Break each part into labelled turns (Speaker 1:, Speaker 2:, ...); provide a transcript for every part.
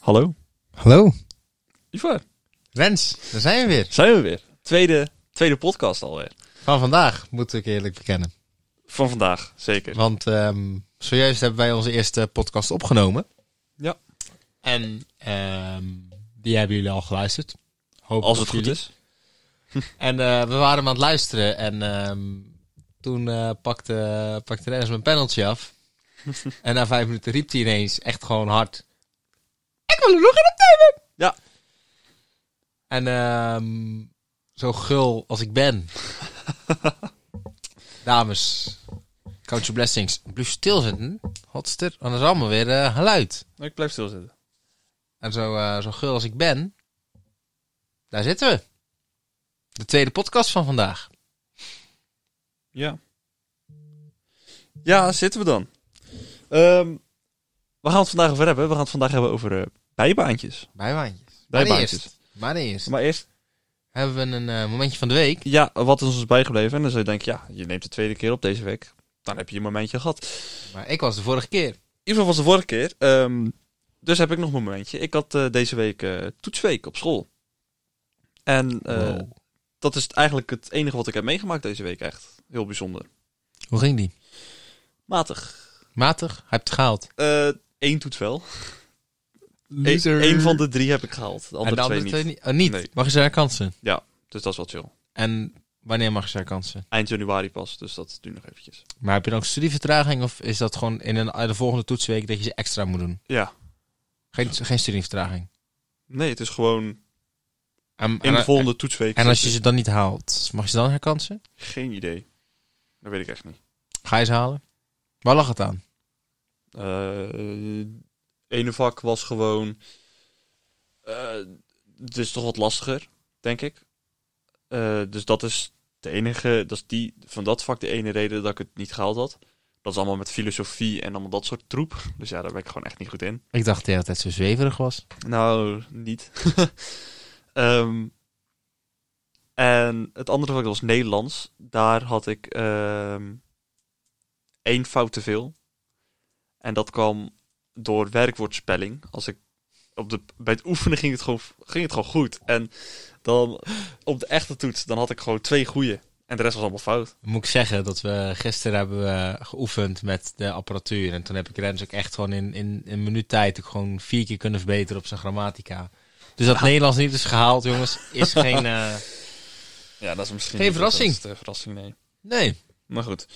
Speaker 1: Hallo,
Speaker 2: Hallo,
Speaker 1: Ivar.
Speaker 2: Rens, daar zijn we weer.
Speaker 1: Zijn we weer. Tweede, tweede podcast alweer.
Speaker 2: Van vandaag, moet ik eerlijk bekennen.
Speaker 1: Van vandaag, zeker.
Speaker 2: Want ehm, zojuist hebben wij onze eerste podcast opgenomen.
Speaker 1: Ja.
Speaker 2: En ehm, die hebben jullie al geluisterd. Hoop
Speaker 1: Als
Speaker 2: ik
Speaker 1: het goed
Speaker 2: jullie.
Speaker 1: is.
Speaker 2: En eh, we waren hem aan het luisteren en ehm, toen eh, pakte, pakte Rens mijn penaltje af. en na vijf minuten riep hij ineens echt gewoon hard. Ik wil er nog in opnemen!
Speaker 1: Ja.
Speaker 2: En ehm, zo gul als ik ben. Dames, coach your blessings. Blijf stilzitten. Hotster, anders allemaal weer eh, geluid.
Speaker 1: Ik blijf stilzitten.
Speaker 2: En zo, eh, zo gul als ik ben. Daar zitten we. De tweede podcast van vandaag.
Speaker 1: Ja. Ja, zitten we dan. Ehm, we gaan het vandaag over hebben. We gaan het vandaag hebben over eh, bijbaantjes.
Speaker 2: Bijbaantjes. Maar
Speaker 1: Bijbaantjes.
Speaker 2: eerst, maar eerst
Speaker 1: Maar eerst,
Speaker 2: hebben we een eh, momentje van de week.
Speaker 1: ja, wat is ons bijgebleven? En dan zou je denken, ja, je neemt de tweede keer op deze week. Dan heb je je momentje gehad.
Speaker 2: Maar ik was de vorige keer.
Speaker 1: Ivar was de vorige keer. ehm, dus heb ik nog een momentje. Ik had eh, deze week eh, toetsweek op school. En eh,
Speaker 2: Wow.
Speaker 1: dat is eigenlijk het enige wat ik heb meegemaakt deze week echt. Heel bijzonder.
Speaker 2: Hoe ging die?
Speaker 1: Matig.
Speaker 2: Matig? Hij hebt het gehaald.
Speaker 1: Eén toets wel. Eén één van de drie heb ik gehaald. De andere,
Speaker 2: en de andere
Speaker 1: twee,
Speaker 2: twee
Speaker 1: niet.
Speaker 2: niet. Oh, niet.
Speaker 1: Nee.
Speaker 2: Mag je ze herkansen?
Speaker 1: Dus dat is wel chill.
Speaker 2: En wanneer mag je ze herkansen?
Speaker 1: Eind januari pas, dus dat duurt nog eventjes.
Speaker 2: Maar heb je dan ook studievertraging of is dat gewoon in een, de volgende toetsweek dat je ze extra moet doen?
Speaker 1: Ja.
Speaker 2: Geen, geen studievertraging.
Speaker 1: Nee, het is gewoon
Speaker 2: En, en-
Speaker 1: in de volgende toetsweek.
Speaker 2: en als je ze dan niet haalt, mag je ze dan herkansen?
Speaker 1: Geen idee. Dat weet ik echt niet.
Speaker 2: Ga je ze halen? Waar lag het aan?
Speaker 1: Eh ene vak was gewoon. eh, het is toch wat lastiger, denk ik. Eh, dus dat is de enige. Dat is die, van dat vak de ene reden dat ik het niet gehaald had. Dat is allemaal met filosofie en allemaal dat soort troep. Dus ja, daar ben ik gewoon echt niet goed in.
Speaker 2: Ik dacht de hele tijd zo zweverig was.
Speaker 1: Nou, niet. Ehm, en het andere vak dat was Nederlands. Daar had ik ehm, één fout te veel. En dat kwam door werkwoordspelling. Als ik op de, bij het oefenen ging het, gewoon, ging het gewoon goed. En dan op de echte toets, dan had ik gewoon twee goede. En de rest was allemaal fout.
Speaker 2: Moet ik zeggen dat we gisteren hebben we geoefend met de apparatuur. En toen heb ik Rens ook echt gewoon in, in, in een minuut tijd ook gewoon vier keer kunnen verbeteren op zijn grammatica. Dus
Speaker 1: Ah.
Speaker 2: dat Nederlands niet is gehaald, jongens, is geen... eh,
Speaker 1: Ja, dat is misschien
Speaker 2: Geen verrassing.
Speaker 1: Een verrassing, nee.
Speaker 2: Nee.
Speaker 1: Maar goed.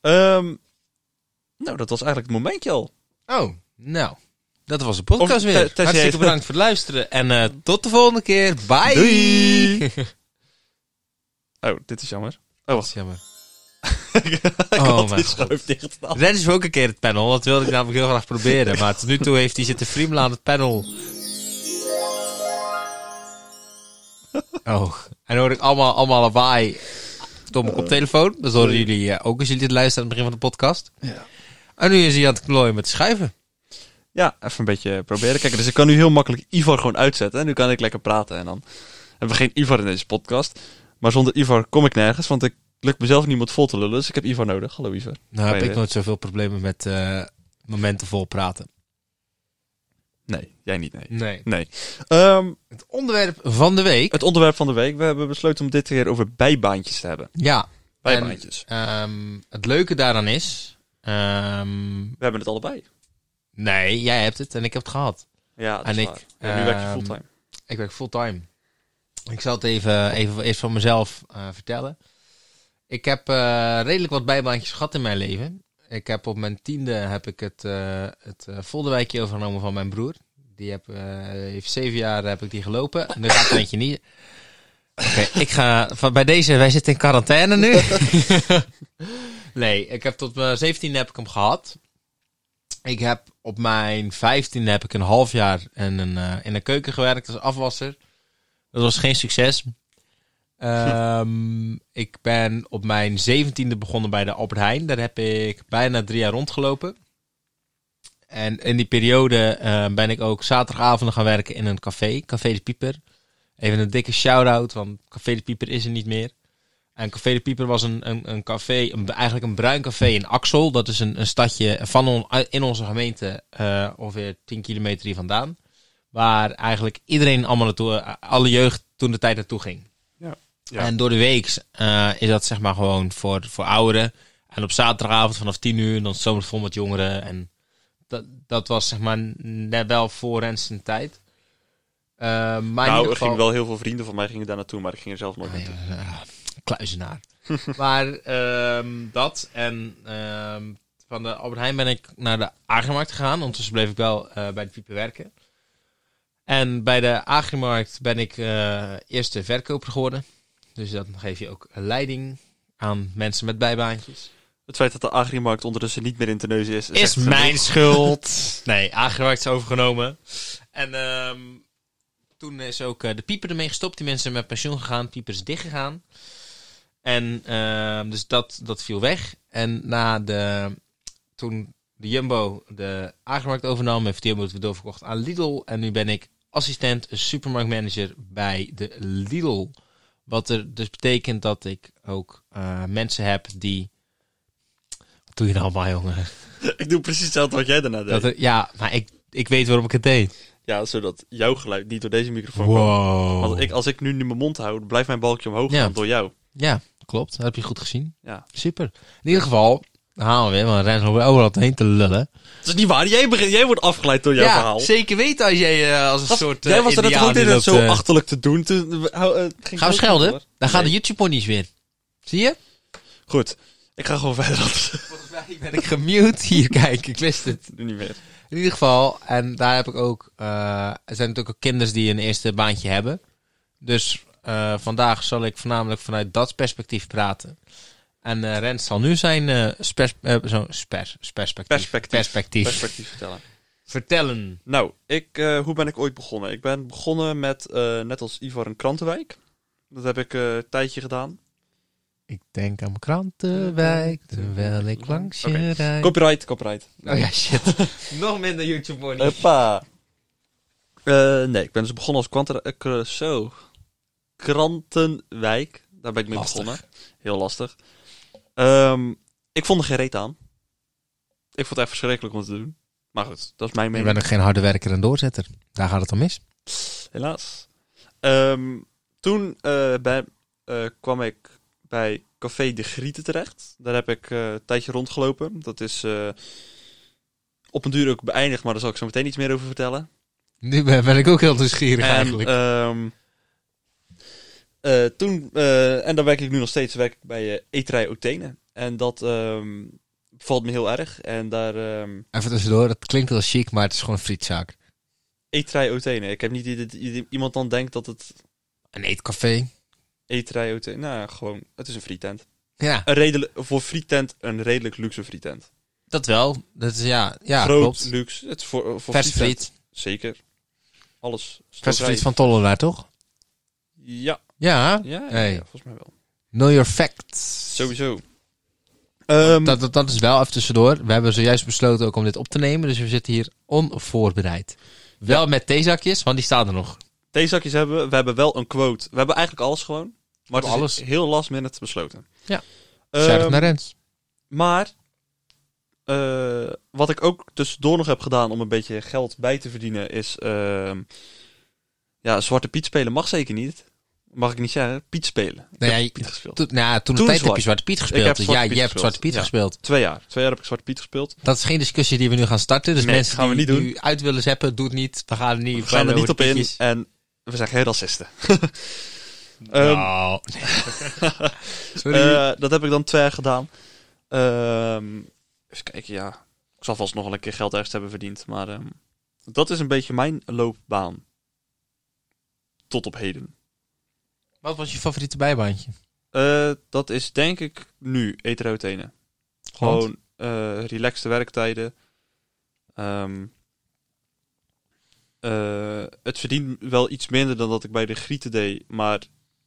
Speaker 1: Ehm, nou, dat was eigenlijk het momentje al.
Speaker 2: Oh, nou. Dat was de podcast
Speaker 1: Of, eh,
Speaker 2: weer.
Speaker 1: tenzij-
Speaker 2: Hartstikke bedankt voor het luisteren. En eh, tot de volgende keer. Bye!
Speaker 1: Doei! Oh, dit is jammer. Oh,
Speaker 2: Dat
Speaker 1: wacht.
Speaker 2: is Jammer.
Speaker 1: ik
Speaker 2: Oh,
Speaker 1: had
Speaker 2: mijn
Speaker 1: die
Speaker 2: god.
Speaker 1: schuif dichtgedaan.
Speaker 2: Rens is ook een keer het panel. Dat wilde ik namelijk heel graag proberen. Maar tot nu toe heeft hij zitten friemelen aan het panel. Oh, en hoor ik allemaal, allemaal lawaai door mijn koptelefoon. Dat horen jullie eh, ook als jullie dit luisteren aan het begin van de podcast.
Speaker 1: Ja.
Speaker 2: En nu is hij aan het klooien met schuiven.
Speaker 1: Ja, even een beetje proberen. Kijk, dus ik kan nu heel makkelijk Ivar gewoon uitzetten. En nu kan ik lekker praten. En dan hebben we geen Ivar in deze podcast. Maar zonder Ivar kom ik nergens, want ik lukt mezelf niemand vol te lullen. Dus ik heb Ivar nodig. Hallo Ivar.
Speaker 2: Nou heb
Speaker 1: Kan je
Speaker 2: ik nooit zoveel problemen met eh, momenten vol praten.
Speaker 1: Nee, jij niet, nee.
Speaker 2: Nee.
Speaker 1: Nee. Ehm,
Speaker 2: Het onderwerp van de week.
Speaker 1: het onderwerp van de week. We hebben besloten om dit keer over bijbaantjes te hebben.
Speaker 2: Ja,
Speaker 1: Bijbaantjes.
Speaker 2: ehm, het leuke daaraan is... ehm,
Speaker 1: We hebben het allebei.
Speaker 2: nee, jij hebt het en ik heb het gehad.
Speaker 1: Ja, dat
Speaker 2: En
Speaker 1: is
Speaker 2: ik,
Speaker 1: waar. Ja, nu werk je
Speaker 2: ehm,
Speaker 1: fulltime.
Speaker 2: Ik werk fulltime. Ik zal het even, even eerst van mezelf eh, vertellen. Ik heb eh, redelijk wat bijbaantjes gehad in mijn leven. Ik heb op mijn tiende heb ik het, eh het eh, Volderwijkje overgenomen van mijn broer. Die heb, eh, heeft zeven jaar heb ik die gelopen. En dat gaat er eentje niet. Oké, ik ga van, bij deze. Wij zitten in quarantaine nu. nee, ik heb tot mijn zeventiende heb ik hem gehad. Ik heb op mijn vijftiende heb ik een half jaar in een, eh, in een keuken gewerkt als afwasser. Dat was geen succes. Ehm, ik ben op mijn zeventiende begonnen bij de Albert Heijn. Daar heb ik bijna drie jaar rondgelopen. En in die periode eh, ben ik ook zaterdagavonden gaan werken in een café, Café de Pieper. Even een dikke shout-out, want Café de Pieper is er niet meer. En Café de Pieper was een, een, een café, een, eigenlijk een bruin café in Axel. Dat is een, een stadje van on- in onze gemeente, eh, ongeveer 10 kilometer hier vandaan. Waar eigenlijk iedereen allemaal naartoe, eh, alle jeugd toen de tijd naartoe ging.
Speaker 1: Ja. Ja.
Speaker 2: En door de week eh, is dat zeg maar gewoon voor, voor ouderen. En op zaterdagavond vanaf 10 uur, dan zomers vol met jongeren. En dat, dat was zeg maar net wel voor Rens zijn tijd. Eh, maar in ieder
Speaker 1: nou, er
Speaker 2: geval-
Speaker 1: gingen wel heel veel vrienden van mij gingen daar naartoe, maar ik ging er zelf nooit
Speaker 2: oh. Ah,
Speaker 1: naartoe.
Speaker 2: ja, ja, kluizenaar. maar ehm, dat en ehm, van de Albert Heijn ben ik naar de Agrimarkt gegaan. Ondertussen bleef ik wel eh, bij de Piepen werken. En bij de Agrimarkt ben ik eh, eerste verkoper geworden. Dus dan geef je ook leiding aan mensen met bijbaantjes.
Speaker 1: Het feit dat de agrimarkt ondertussen niet meer in Terneuzen is...
Speaker 2: Is
Speaker 1: echt
Speaker 2: mijn schuld. Nee, Agrimarkt is overgenomen. En ehm, toen is ook eh, de pieper ermee gestopt. Die mensen zijn met pensioen gegaan. Pieper is dichtgegaan. En ehm, dus dat, dat viel weg. En na de, toen de Jumbo de Agrimarkt overnam, heeft de Jumbo het weer doorverkocht aan Lidl. En nu ben ik assistent supermarktmanager bij de Lidl. Wat er dus betekent dat ik ook eh, mensen heb die... Wat doe je nou allemaal, jongen?
Speaker 1: Ik doe precies hetzelfde wat jij daarna deed.
Speaker 2: Dat er- ja, maar ik, ik weet waarom ik het deed.
Speaker 1: Ja, zodat jouw geluid niet door deze microfoon komt.
Speaker 2: Wow.
Speaker 1: Want ik, als ik nu mijn mond hou, dan blijft mijn balkje omhoog
Speaker 2: Ja.
Speaker 1: gaan door jou.
Speaker 2: Ja, klopt. Dat heb je goed gezien.
Speaker 1: Ja.
Speaker 2: Super. In ieder geval, dan halen we weer, want Rens loopt overal heen te lullen.
Speaker 1: Dat is niet waar. Jij, begint, jij wordt afgeleid door jouw
Speaker 2: ja,
Speaker 1: verhaal.
Speaker 2: zeker weten als jij eh, als een
Speaker 1: Gast,
Speaker 2: soort... eh,
Speaker 1: jij was er net
Speaker 2: indiaan
Speaker 1: ook
Speaker 2: die
Speaker 1: in het
Speaker 2: dat,
Speaker 1: zo
Speaker 2: eh,
Speaker 1: achterlijk te doen. Toen, eh, hou, eh, ging het
Speaker 2: Gaan
Speaker 1: ook
Speaker 2: we
Speaker 1: niet
Speaker 2: schelden?
Speaker 1: door.
Speaker 2: Dan gaan
Speaker 1: Nee.
Speaker 2: de YouTube-ponies weer. Zie je?
Speaker 1: Goed. Ik ga gewoon verder.
Speaker 2: Volgens mij ben ik gemute. Hier, kijk, ik wist het.
Speaker 1: Nu niet meer.
Speaker 2: In ieder geval, en daar heb ik ook. eh, er zijn natuurlijk ook kinders die een eerste baantje hebben. Dus eh, vandaag zal ik voornamelijk vanuit dat perspectief praten. En eh Rens zal nu zijn eh, spers, eh, zo'n spers, perspectief,
Speaker 1: Perspectief.
Speaker 2: perspectief
Speaker 1: Perspectief vertellen.
Speaker 2: vertellen.
Speaker 1: Nou, ik, eh, hoe ben ik ooit begonnen? Ik ben begonnen met, eh, net als Ivar, een krantenwijk. Dat heb ik eh, een tijdje gedaan.
Speaker 2: Ik denk aan mijn krantenwijk terwijl ik langs je
Speaker 1: Oké.
Speaker 2: rijd.
Speaker 1: Copyright, copyright.
Speaker 2: Oh ja, shit. Nog minder YouTube money.
Speaker 1: Hoppa. Eh, nee, ik ben dus begonnen als kwanten, eh, kr- zo. krantenwijk. Daar ben ik mee
Speaker 2: Lastig.
Speaker 1: begonnen. Heel lastig. Ehm, ik vond er geen reet aan. Ik vond het echt verschrikkelijk om te doen. Maar goed, dat is mijn
Speaker 2: ik
Speaker 1: mening.
Speaker 2: ben ook geen harde werker en doorzetter. Daar gaat het om mis.
Speaker 1: Helaas. Ehm, toen eh, ben- eh, kwam ik bij Café de Grieten terecht. Daar heb ik eh, een tijdje rondgelopen. Dat is eh, op een duur ook beëindigd, maar daar zal ik zo meteen iets meer over vertellen.
Speaker 2: Nu ben, ben ik ook heel nieuwsgierig eigenlijk.
Speaker 1: ehm, eh, toen, eh, en daar werk ik nu nog steeds, werk ik bij eh Eterij Otene. En dat ehm, valt me heel erg. En daar, ehm
Speaker 2: Even tussendoor, dat klinkt heel chic, maar het is gewoon een frietzaak.
Speaker 1: Eterij Otene. Ik heb niet idee dat i- iemand dan denkt dat het
Speaker 2: Een eetcafé.
Speaker 1: Eterij Otene... Nou, gewoon, het is een frietent.
Speaker 2: Ja,
Speaker 1: Een redelijk, voor frietent een redelijk luxe frietent.
Speaker 2: dat wel. Dat is, ja, ja
Speaker 1: Groot,
Speaker 2: klopt.
Speaker 1: luxe. Het is voor, voor
Speaker 2: Vers
Speaker 1: frietent.
Speaker 2: friet.
Speaker 1: Zeker. Alles.
Speaker 2: Vers
Speaker 1: Stokerij.
Speaker 2: friet van Tollenaar, toch?
Speaker 1: Ja,
Speaker 2: Ja,
Speaker 1: ja, ja,
Speaker 2: Hey.
Speaker 1: ja, volgens mij wel.
Speaker 2: know your facts.
Speaker 1: Sowieso. Ehm,
Speaker 2: Dat, dat, dat is wel even tussendoor. We hebben zojuist besloten ook om dit op te nemen, dus we zitten hier onvoorbereid. Wel met theezakjes, want die staan er nog.
Speaker 1: theezakjes hebben we. We hebben wel een quote. We hebben eigenlijk alles gewoon. Maar het is
Speaker 2: Alles.
Speaker 1: heel last minute besloten.
Speaker 2: Ja.
Speaker 1: Ehm,
Speaker 2: Shout-out naar Rens.
Speaker 1: maar eh, wat ik ook tussendoor nog heb gedaan om een beetje geld bij te verdienen is... ehm, ja, Zwarte Piet spelen mag zeker niet. Mag ik niet zeggen. Piet spelen. Ik
Speaker 2: Nou
Speaker 1: heb
Speaker 2: ja,
Speaker 1: Piet gespeeld.
Speaker 2: Toen, nou, toen de
Speaker 1: Toen
Speaker 2: tijd heb
Speaker 1: Zwarte-
Speaker 2: je Zwarte Piet
Speaker 1: heb
Speaker 2: gespeeld.
Speaker 1: Zwarte
Speaker 2: ja,
Speaker 1: Piet
Speaker 2: je hebt Zwarte
Speaker 1: gespeeld,
Speaker 2: Piet
Speaker 1: ja.
Speaker 2: gespeeld.
Speaker 1: Twee jaar. Twee jaar heb ik Zwarte Piet gespeeld.
Speaker 2: Dat is geen discussie die we nu gaan starten. Dus
Speaker 1: Nee,
Speaker 2: mensen
Speaker 1: gaan we
Speaker 2: die
Speaker 1: niet doen.
Speaker 2: nu uit willen zeppen, doe het niet. We gaan er niet,
Speaker 1: We gaan er niet op in.
Speaker 2: pietjes.
Speaker 1: En we zijn geen racisten. Ehm,
Speaker 2: Nou. Sorry.
Speaker 1: Eh, dat heb ik dan twee jaar gedaan. Ehm, even kijken, ja. Ik zal vast nog wel een keer geld ergens hebben verdiend. Maar ehm, dat is een beetje mijn loopbaan. Tot op heden.
Speaker 2: Wat was je favoriete bijbaantje?
Speaker 1: Eh, dat is denk ik nu eterotenen.
Speaker 2: Want?
Speaker 1: Gewoon eh relaxte werktijden. Ehm, eh, het verdient wel iets minder dan dat ik bij de Grieten deed. Maar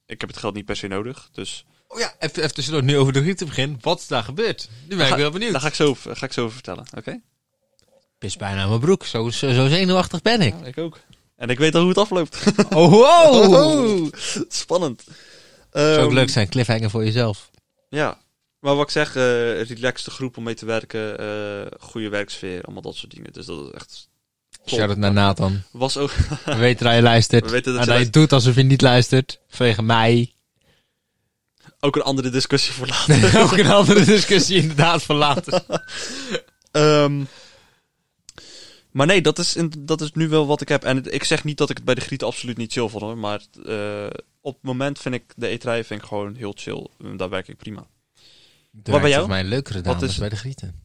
Speaker 1: ik heb het geld niet per se nodig. Dus
Speaker 2: Oh ja, even, even tussendoor, nu over de griet te beginnen. Wat is daar gebeurd? Nu ben ik
Speaker 1: Ga-
Speaker 2: wel benieuwd.
Speaker 1: daar ga ik zo over, ga ik zo over vertellen. Oké?
Speaker 2: Pis bijna aan mijn broek, zo, zo, zo zenuwachtig ben ik.
Speaker 1: Ja, ik ook. En ik weet al hoe het afloopt.
Speaker 2: Oh, wow!
Speaker 1: Spannend.
Speaker 2: Zou ook
Speaker 1: Ehm,
Speaker 2: leuk zijn, cliffhanger voor jezelf.
Speaker 1: Ja, maar wat ik zeg, eh relaxte groep om mee te werken, eh, goede werksfeer, allemaal dat soort dingen. Dus dat is echt... top.
Speaker 2: Shout-out naar Nathan.
Speaker 1: Was ook...
Speaker 2: We weten dat je
Speaker 1: We
Speaker 2: luistert.
Speaker 1: weten dat
Speaker 2: En
Speaker 1: je
Speaker 2: hij
Speaker 1: luistert.
Speaker 2: doet alsof je niet luistert. Vanwege mij.
Speaker 1: ook een andere discussie voor later.
Speaker 2: ook een andere discussie inderdaad voor later.
Speaker 1: Ehm, maar nee, dat is, in- dat is nu wel wat ik heb. En het- ik zeg niet dat ik het bij de Griet absoluut niet chill vond hoor. Maar eh, op het moment vind ik de eetrij vind ik gewoon heel chill. En Daar werk ik prima.
Speaker 2: Wat
Speaker 1: bij jou?
Speaker 2: mij leukere dames
Speaker 1: is-
Speaker 2: bij de grieten.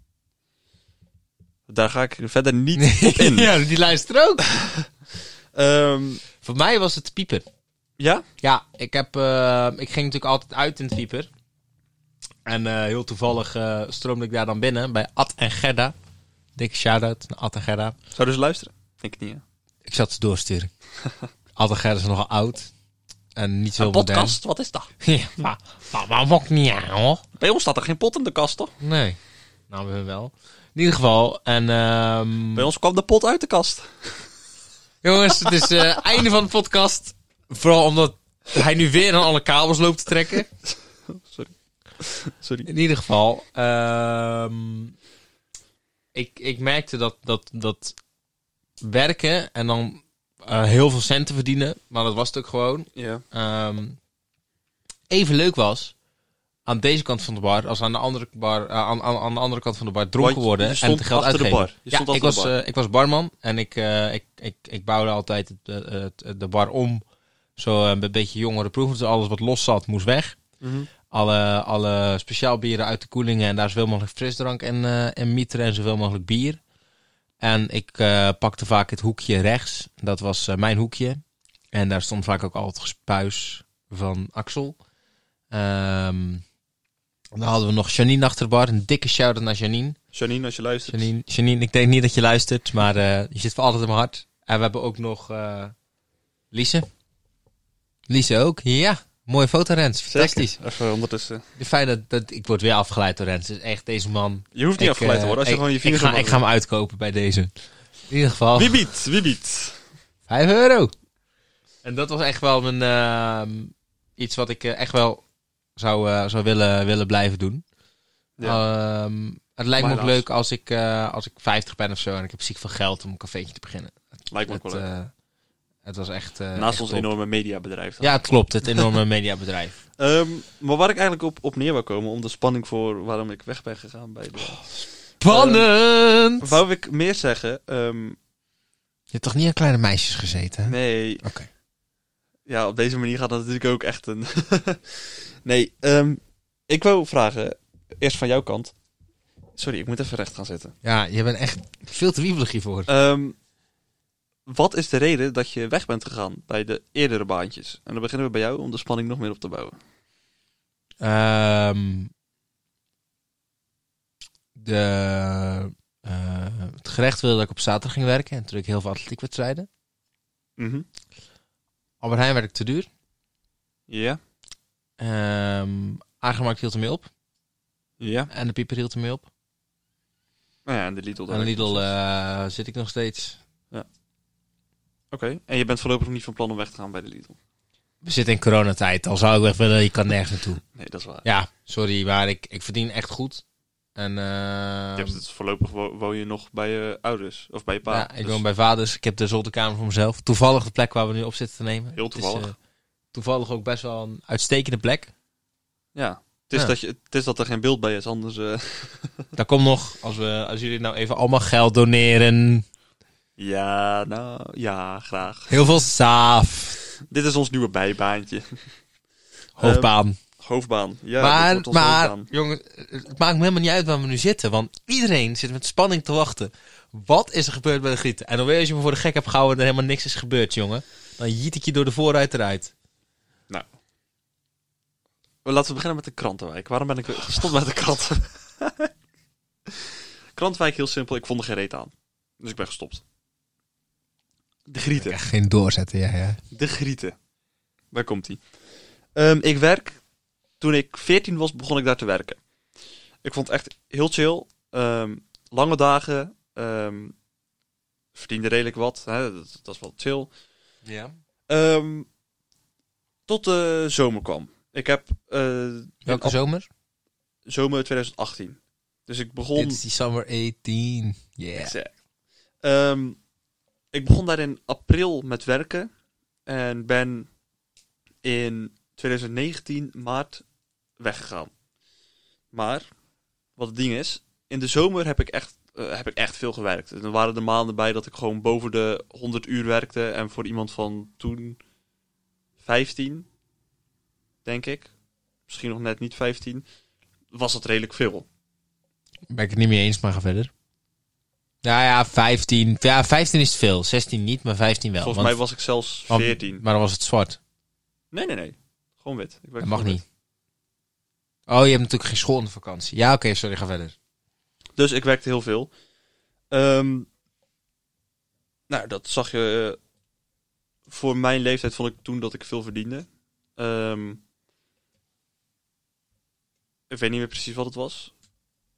Speaker 1: Daar ga ik verder niet op in.
Speaker 2: ja, die luistert ook.
Speaker 1: Ehm,
Speaker 2: voor mij was het pieper.
Speaker 1: ja?
Speaker 2: Ja, ik, heb, eh, ik ging natuurlijk altijd uit in het pieper. En eh, heel toevallig eh, stroomde ik daar dan binnen bij Ad en Gerda. Dikke shout-out naar Ad en Gerda.
Speaker 1: Zouden ze dus luisteren? Denk ik niet. Hè?
Speaker 2: Ik zat ze doorsturen. Ad en Gerda is nogal oud. En niet zo
Speaker 1: Een
Speaker 2: modern.
Speaker 1: podcast? Wat is dat?
Speaker 2: Ja, maar, maar, maar maakt niet aan, hoor.
Speaker 1: Bij ons staat er geen pot in de kast toch?
Speaker 2: Nee. Nou, we hebben wel. In ieder geval, en ehm,
Speaker 1: Bij ons kwam de pot uit de kast.
Speaker 2: jongens, het is eh einde van de podcast. Vooral omdat hij nu weer aan alle kabels loopt te trekken.
Speaker 1: Sorry.
Speaker 2: In ieder geval, ehm, ik, ik merkte dat, dat, dat werken en dan eh, heel veel centen verdienen, maar dat was het ook gewoon,
Speaker 1: Ja.
Speaker 2: ehm, even leuk was aan deze kant van de bar als aan de andere, bar, eh, aan, aan, aan de andere kant van de bar dronken
Speaker 1: Want je
Speaker 2: worden en
Speaker 1: stond
Speaker 2: het geld
Speaker 1: achter de
Speaker 2: uitgeven.
Speaker 1: bar. Je
Speaker 2: ja,
Speaker 1: stond
Speaker 2: ik
Speaker 1: achter de
Speaker 2: was,
Speaker 1: bar.
Speaker 2: eh, ik was barman en ik, eh, ik, ik, ik bouwde altijd het, eh, het- de bar om. Zo eh, een beetje jongere proeven, dus alles wat los zat moest weg.
Speaker 1: Mhm.
Speaker 2: Alle, alle speciaal bieren uit de koelingen en daar zoveel mogelijk frisdrank en, eh, en mieter en zoveel mogelijk bier. En ik eh, pakte vaak het hoekje rechts, dat was eh, mijn hoekje. En daar stond vaak ook al het gespuis van Axel. Ehm, dan hadden we nog Janine achter de bar, een dikke shout-out naar Janine.
Speaker 1: Janine, als je luistert.
Speaker 2: Janine, Janine, ik denk niet dat je luistert, maar eh, je zit voor altijd in mijn hart. En we hebben ook nog eh Lise. Lise ook, ja. Mooie foto, Rens.
Speaker 1: Zeker.
Speaker 2: Fantastisch.
Speaker 1: Even ondertussen.
Speaker 2: De feit dat, dat ik word weer afgeleid door Rens. Dus echt, deze man...
Speaker 1: Je hoeft niet
Speaker 2: ik,
Speaker 1: afgeleid te
Speaker 2: eh,
Speaker 1: worden als je
Speaker 2: ik-
Speaker 1: gewoon je vingers
Speaker 2: ik ga,
Speaker 1: omhoog
Speaker 2: ik ga hem uitkopen bij deze. In ieder geval,
Speaker 1: Wie biedt? Wie biedt?
Speaker 2: 5 euro. En dat was echt wel mijn, ehm, iets wat ik eh, echt wel zou, eh, zou willen, willen blijven doen. Ehm, het lijkt me
Speaker 1: Maar
Speaker 2: ook
Speaker 1: helaas.
Speaker 2: leuk als ik, eh, als ik 50 ben of zo en ik heb ziek veel geld om een cafeetje te beginnen.
Speaker 1: Lijkt me ook
Speaker 2: Het,
Speaker 1: wel leuk.
Speaker 2: eh, het was echt. eh,
Speaker 1: Naast
Speaker 2: echt
Speaker 1: ons
Speaker 2: top.
Speaker 1: enorme mediabedrijf. dan.
Speaker 2: Ja, het klopt. Het enorme mediabedrijf.
Speaker 1: Ehm, maar waar ik eigenlijk op, op neer wil komen, om de spanning voor waarom ik weg ben gegaan bij de...
Speaker 2: Spannend!
Speaker 1: Wou ik meer zeggen? ehm,
Speaker 2: Je hebt toch niet aan kleine meisjes gezeten? hè?
Speaker 1: nee,
Speaker 2: Oké.
Speaker 1: ja, op deze manier gaat dat natuurlijk ook echt een... nee, ehm, ik wil vragen, eerst van jouw kant. Sorry, ik moet even recht gaan zitten.
Speaker 2: Ja, je bent echt veel te wiebelig hiervoor.
Speaker 1: Ehm, wat is de reden dat je weg bent gegaan bij de eerdere baantjes? En dan beginnen we bij jou om de spanning nog meer op te bouwen.
Speaker 2: Ehm, de, eh, het gerecht wilde dat ik op zaterdag ging werken. En toen ik heel veel atletiekwedstrijden.
Speaker 1: Mhm.
Speaker 2: Albert Heijn werd ik te duur.
Speaker 1: Ja,
Speaker 2: Ehm aangemaakt hield ermee op.
Speaker 1: ja.
Speaker 2: En de pieper hield ermee op.
Speaker 1: Nou ja, en de Lidl. daar
Speaker 2: Aan
Speaker 1: heb ik nog
Speaker 2: Lidl
Speaker 1: steeds.
Speaker 2: eh, zit ik nog steeds.
Speaker 1: Oké, en je bent voorlopig niet van plan om weg te gaan bij de Lidl.
Speaker 2: We zitten in coronatijd. Al zou ik weg willen, je kan nergens naartoe.
Speaker 1: Nee, dat is waar.
Speaker 2: Ja, sorry, maar ik, ik verdien echt goed. En eh,
Speaker 1: Je hebt het voorlopig wo- woon je nog bij je ouders of bij je pa.
Speaker 2: ja, ik
Speaker 1: Dus
Speaker 2: woon bij vaders. Ik heb de zolderkamer voor mezelf. Toevallig de plek waar we nu op zitten te nemen.
Speaker 1: Heel
Speaker 2: Het is,
Speaker 1: toevallig.
Speaker 2: eh, toevallig ook best wel een uitstekende plek.
Speaker 1: ja. Het, is
Speaker 2: Ja.
Speaker 1: Dat je, het is dat er geen beeld bij is, anders. eh,
Speaker 2: Daar komt nog, als, we, als jullie nou even allemaal geld doneren.
Speaker 1: ja, nou ja, graag.
Speaker 2: Heel veel saaf.
Speaker 1: Dit is ons nieuwe bijbaantje.
Speaker 2: Hoofdbaan.
Speaker 1: Hoofdbaan. Ja, dit
Speaker 2: maar,
Speaker 1: Ehm, wordt onze
Speaker 2: maar
Speaker 1: hoofdbaan.
Speaker 2: jongen, het maakt me helemaal niet uit waar we nu zitten. Want iedereen zit met spanning te wachten. Wat is er gebeurd bij de Grieten? En alweer als je me voor de gek hebt gehouden en er helemaal niks is gebeurd, jongen. Dan jiet ik je door de vooruit eruit.
Speaker 1: Laten we beginnen met de krantenwijk. Waarom ben ik weer gestopt met de kranten? krantenwijk heel simpel. Ik vond er geen reet aan. Dus ik ben gestopt. De grieten.
Speaker 2: Echt geen doorzetten, ja, ja.
Speaker 1: De Grieten. Daar komt hij. Ehm, ik werk. Toen ik 14 was, begon ik daar te werken. Ik vond het echt heel chill. Ehm, lange dagen. ehm, verdiende redelijk wat. Hè, dat, dat is wel chill.
Speaker 2: Ja.
Speaker 1: Ehm, tot de zomer kwam. Ik heb eh, in
Speaker 2: Welke
Speaker 1: af-
Speaker 2: zomer?
Speaker 1: zomer 2018. Dus ik begon...
Speaker 2: Dit is die summer 18. Yeah.
Speaker 1: Exact. Ehm, ik begon daar in april met werken. En ben in 2019 maart weggegaan. Maar, wat het ding is, in de zomer heb ik echt, eh, heb ik echt veel gewerkt. En er waren er maanden bij dat ik gewoon boven de 100 uur werkte. En voor iemand van toen 15, denk ik. Misschien nog net niet 15. Was dat redelijk veel.
Speaker 2: Ben ik het niet mee eens, maar ga verder. Nou ja, 15. Ja, 15 is te veel. 16 niet, maar 15 wel.
Speaker 1: Volgens
Speaker 2: Want-
Speaker 1: mij was ik zelfs
Speaker 2: want-
Speaker 1: 14.
Speaker 2: Maar dan was het zwart.
Speaker 1: Nee, nee, nee. Gewoon wit. Ik werk
Speaker 2: Dat mag
Speaker 1: gewoon
Speaker 2: niet. Oh, je hebt natuurlijk geen school in de vakantie. Ja, oké, sorry, ga verder.
Speaker 1: wit. Dus ik werkte heel veel. Ehm, nou, dat zag je. eh, Voor mijn leeftijd vond ik toen dat ik veel verdiende. Ehm, ik weet niet meer precies wat het was.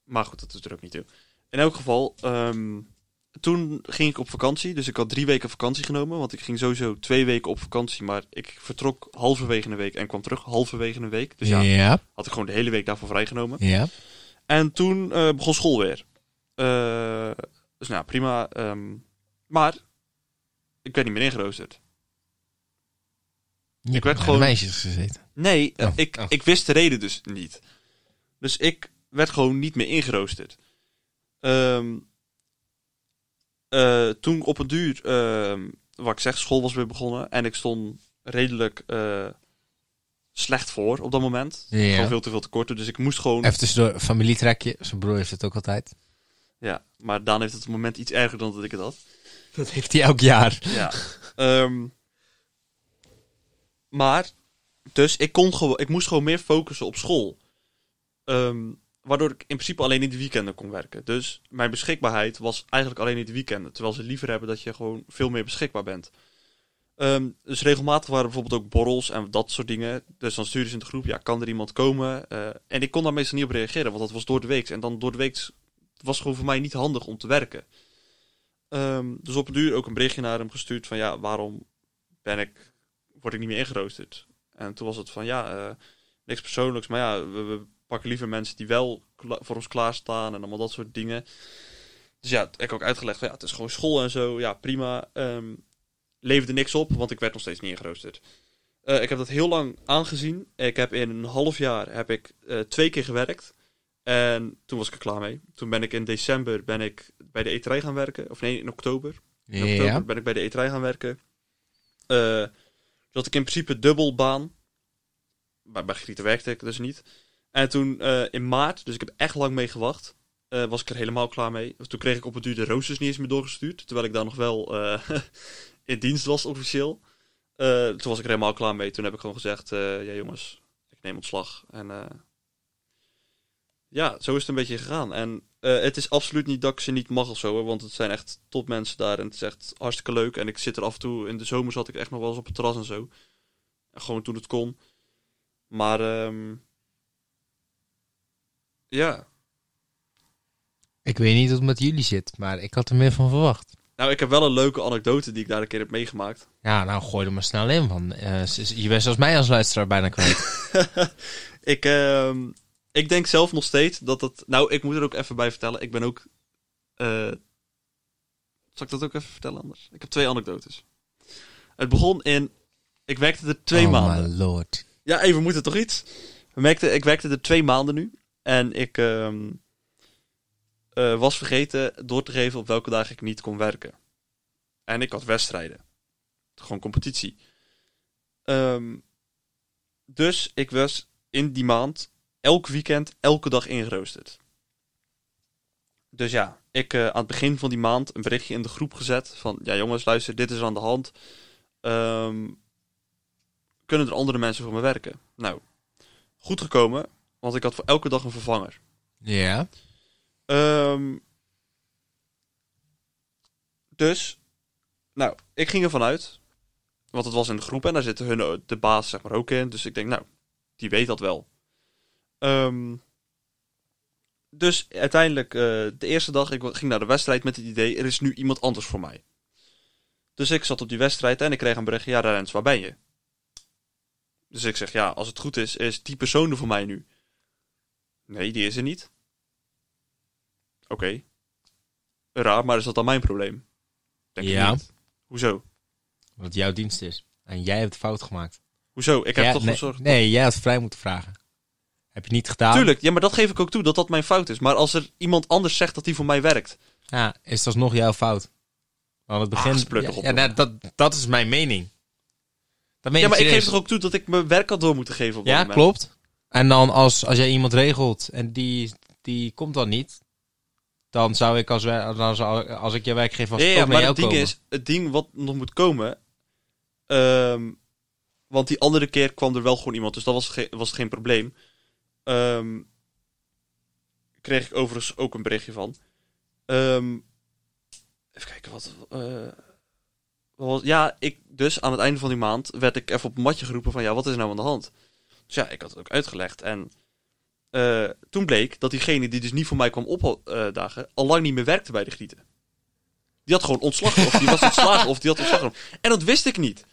Speaker 1: Maar goed, dat is er ook niet toe. In elk geval, ehm, toen ging ik op vakantie. Dus ik had drie weken vakantie genomen. Want ik ging sowieso twee weken op vakantie. Maar ik vertrok halverwege een week en kwam terug halverwege een week. Dus ja,
Speaker 2: ja.
Speaker 1: had ik gewoon de hele week daarvoor vrijgenomen.
Speaker 2: ja.
Speaker 1: En toen eh, begon school weer. Eh, dus nou, prima. ehm, maar ik werd niet meer ingeroosterd.
Speaker 2: Je hebt
Speaker 1: werd
Speaker 2: met
Speaker 1: gewoon-
Speaker 2: meisjes gezeten.
Speaker 1: Nee, eh,
Speaker 2: Oh,
Speaker 1: ik,
Speaker 2: oh.
Speaker 1: ik wist de reden dus niet. Dus ik werd gewoon niet meer ingeroosterd. Ehm, eh, toen op een duur, ehm, wat ik zeg, school was weer begonnen. En ik stond redelijk eh, slecht voor op dat moment.
Speaker 2: Ja.
Speaker 1: Gewoon veel te veel tekorten. Dus ik moest gewoon...
Speaker 2: Even tussendoor, familietrekje. Zijn broer heeft het ook altijd.
Speaker 1: Ja, maar Daan heeft het op het moment iets erger dan dat ik het had.
Speaker 2: Dat heeft hij elk jaar.
Speaker 1: Ja. Ehm, maar, dus ik, kon gewoon, ik moest gewoon meer focussen op school. Ehm, waardoor ik in principe alleen in de weekenden kon werken. Dus mijn beschikbaarheid was eigenlijk alleen in de weekenden. Terwijl ze liever hebben dat je gewoon veel meer beschikbaar bent. Ehm, dus regelmatig waren er bijvoorbeeld ook borrels en dat soort dingen. Dus dan stuurden ze in de groep, ja, kan er iemand komen? Eh, en ik kon daar meestal niet op reageren, want dat was door de week. En dan door de week was gewoon voor mij niet handig om te werken. Ehm, dus op een duur ook een berichtje naar hem gestuurd van ja, waarom ben ik, word ik niet meer ingeroosterd? En toen was het van ja, eh, niks persoonlijks, maar ja, we, we pakken liever mensen die wel kla- voor ons klaarstaan en allemaal dat soort dingen. Dus ja, heb ik ook uitgelegd van ja, het is gewoon school en zo, ja prima. Ehm, leverde niks op, want ik werd nog steeds niet ingeroosterd. Eh, ik heb dat heel lang aangezien. Ik heb in een half jaar heb ik eh, twee keer gewerkt. En toen was ik er klaar mee. Toen ben ik in december ben ik bij de E eterij gaan werken. Of nee, in oktober. In oktober
Speaker 2: Ja.
Speaker 1: ben ik bij de E eterij gaan werken. Eh dat ik in principe dubbel baan. Maar bij Grieten werkte ik dus niet. En toen eh, in maart, dus ik heb echt lang mee gewacht, eh, was ik er helemaal klaar mee. Toen kreeg ik op het duur de roosters niet eens meer doorgestuurd. Terwijl ik daar nog wel eh, in dienst was officieel. Eh, toen was ik er helemaal klaar mee. Toen heb ik gewoon gezegd, eh, ja jongens, ik neem ontslag. En eh, ja, zo is het een beetje gegaan. En eh, het is absoluut niet dat ik ze niet mag of zo, hoor, want het zijn echt topmensen daar. En het is echt hartstikke leuk. En ik zit er af en toe, in de zomer zat ik echt nog wel eens op het terras en zo. En gewoon toen het kon. Maar ehm, ja,
Speaker 2: Ik weet niet hoe het met jullie zit, maar ik had er meer van verwacht.
Speaker 1: nou ik heb wel een leuke anekdote die ik daar een keer heb meegemaakt.
Speaker 2: Ja, nou gooi er maar snel in, want eh, s- s- je bent zoals mij als luisteraar bijna kwijt.
Speaker 1: ik, ehm, ik denk zelf nog steeds dat dat... Nou, ik moet er ook even bij vertellen. Ik ben ook... eh, zal ik dat ook even vertellen anders? Ik heb twee anekdotes. Het begon in... Ik werkte er twee
Speaker 2: oh
Speaker 1: maanden.
Speaker 2: my lord.
Speaker 1: Ja, even moeten toch iets? We merkten, ik werkte er twee maanden nu. En ik ehm, eh, was vergeten door te geven op welke dagen ik niet kon werken. En ik had wedstrijden. Gewoon competitie. Ehm, dus ik was in die maand elk weekend, elke dag ingeroosterd. Dus ja, ik eh, aan het begin van die maand een berichtje in de groep gezet. Van ja jongens, luister, dit is er aan de hand. Ehm kunnen er andere mensen voor me werken? Nou, goed gekomen, want ik had voor elke dag een vervanger.
Speaker 2: Ja.
Speaker 1: Ehm, dus, nou, ik ging ervan uit, want het was in de groep en daar zitten hun, eh, de baas zeg maar ook in. Dus ik denk, nou, die weet dat wel. Ehm, dus uiteindelijk, eh, de eerste dag, ik wa- ging naar de wedstrijd met het idee, er is nu iemand anders voor mij. Dus ik zat op die wedstrijd en ik kreeg een bericht, ja Rens, waar ben je? Dus ik zeg, ja, als het goed is, is die persoon er voor mij nu. Nee, die is er niet. Oké. Raar, maar is dat dan mijn probleem? Denk
Speaker 2: Ja.
Speaker 1: ik niet. Hoezo?
Speaker 2: Wat jouw dienst is. En jij hebt fout gemaakt.
Speaker 1: Hoezo? Ik heb
Speaker 2: Jij-
Speaker 1: toch
Speaker 2: nee,
Speaker 1: gezorgd...
Speaker 2: Nee, jij had vrij moeten vragen. Heb je niet gedaan?
Speaker 1: Tuurlijk, ja, maar dat geef ik ook toe, dat dat mijn fout is. Maar als er iemand anders zegt dat die voor mij werkt...
Speaker 2: Ja, is dat nog jouw fout? Want het begin.
Speaker 1: Ah, splukkig
Speaker 2: ja,
Speaker 1: op,
Speaker 2: ja,
Speaker 1: jongen.
Speaker 2: nou, dat, dat is mijn mening. Dat meen
Speaker 1: Ja, maar ik geef
Speaker 2: serieus.
Speaker 1: toch ook toe dat ik mijn werk had door moeten geven op dat
Speaker 2: Ja,
Speaker 1: moment.
Speaker 2: klopt. En dan als, als jij iemand regelt en die, die komt dan niet, dan zou ik als, wer- dan zou, als ik je werkgever als
Speaker 1: Ja, ja,
Speaker 2: ook naar
Speaker 1: maar
Speaker 2: jou
Speaker 1: het ding
Speaker 2: komen.
Speaker 1: is, het ding wat nog moet komen... ehm, want die andere keer kwam er wel gewoon iemand, dus dat was, ge- was geen probleem. Ehm, kreeg ik overigens ook een berichtje van. Ehm, even kijken, wat... eh, wat was, ja, ik dus aan het einde van die maand werd ik even op een matje geroepen van... Ja, wat is er nou aan de hand? Dus ja, ik had het ook uitgelegd en... eh, toen bleek dat diegene die dus niet voor mij kwam opdagen, al lang niet meer werkte bij de Grieten. Die had gewoon ontslag. Of die was ontslagen. Of die had ontslag. genomen. En dat wist ik niet.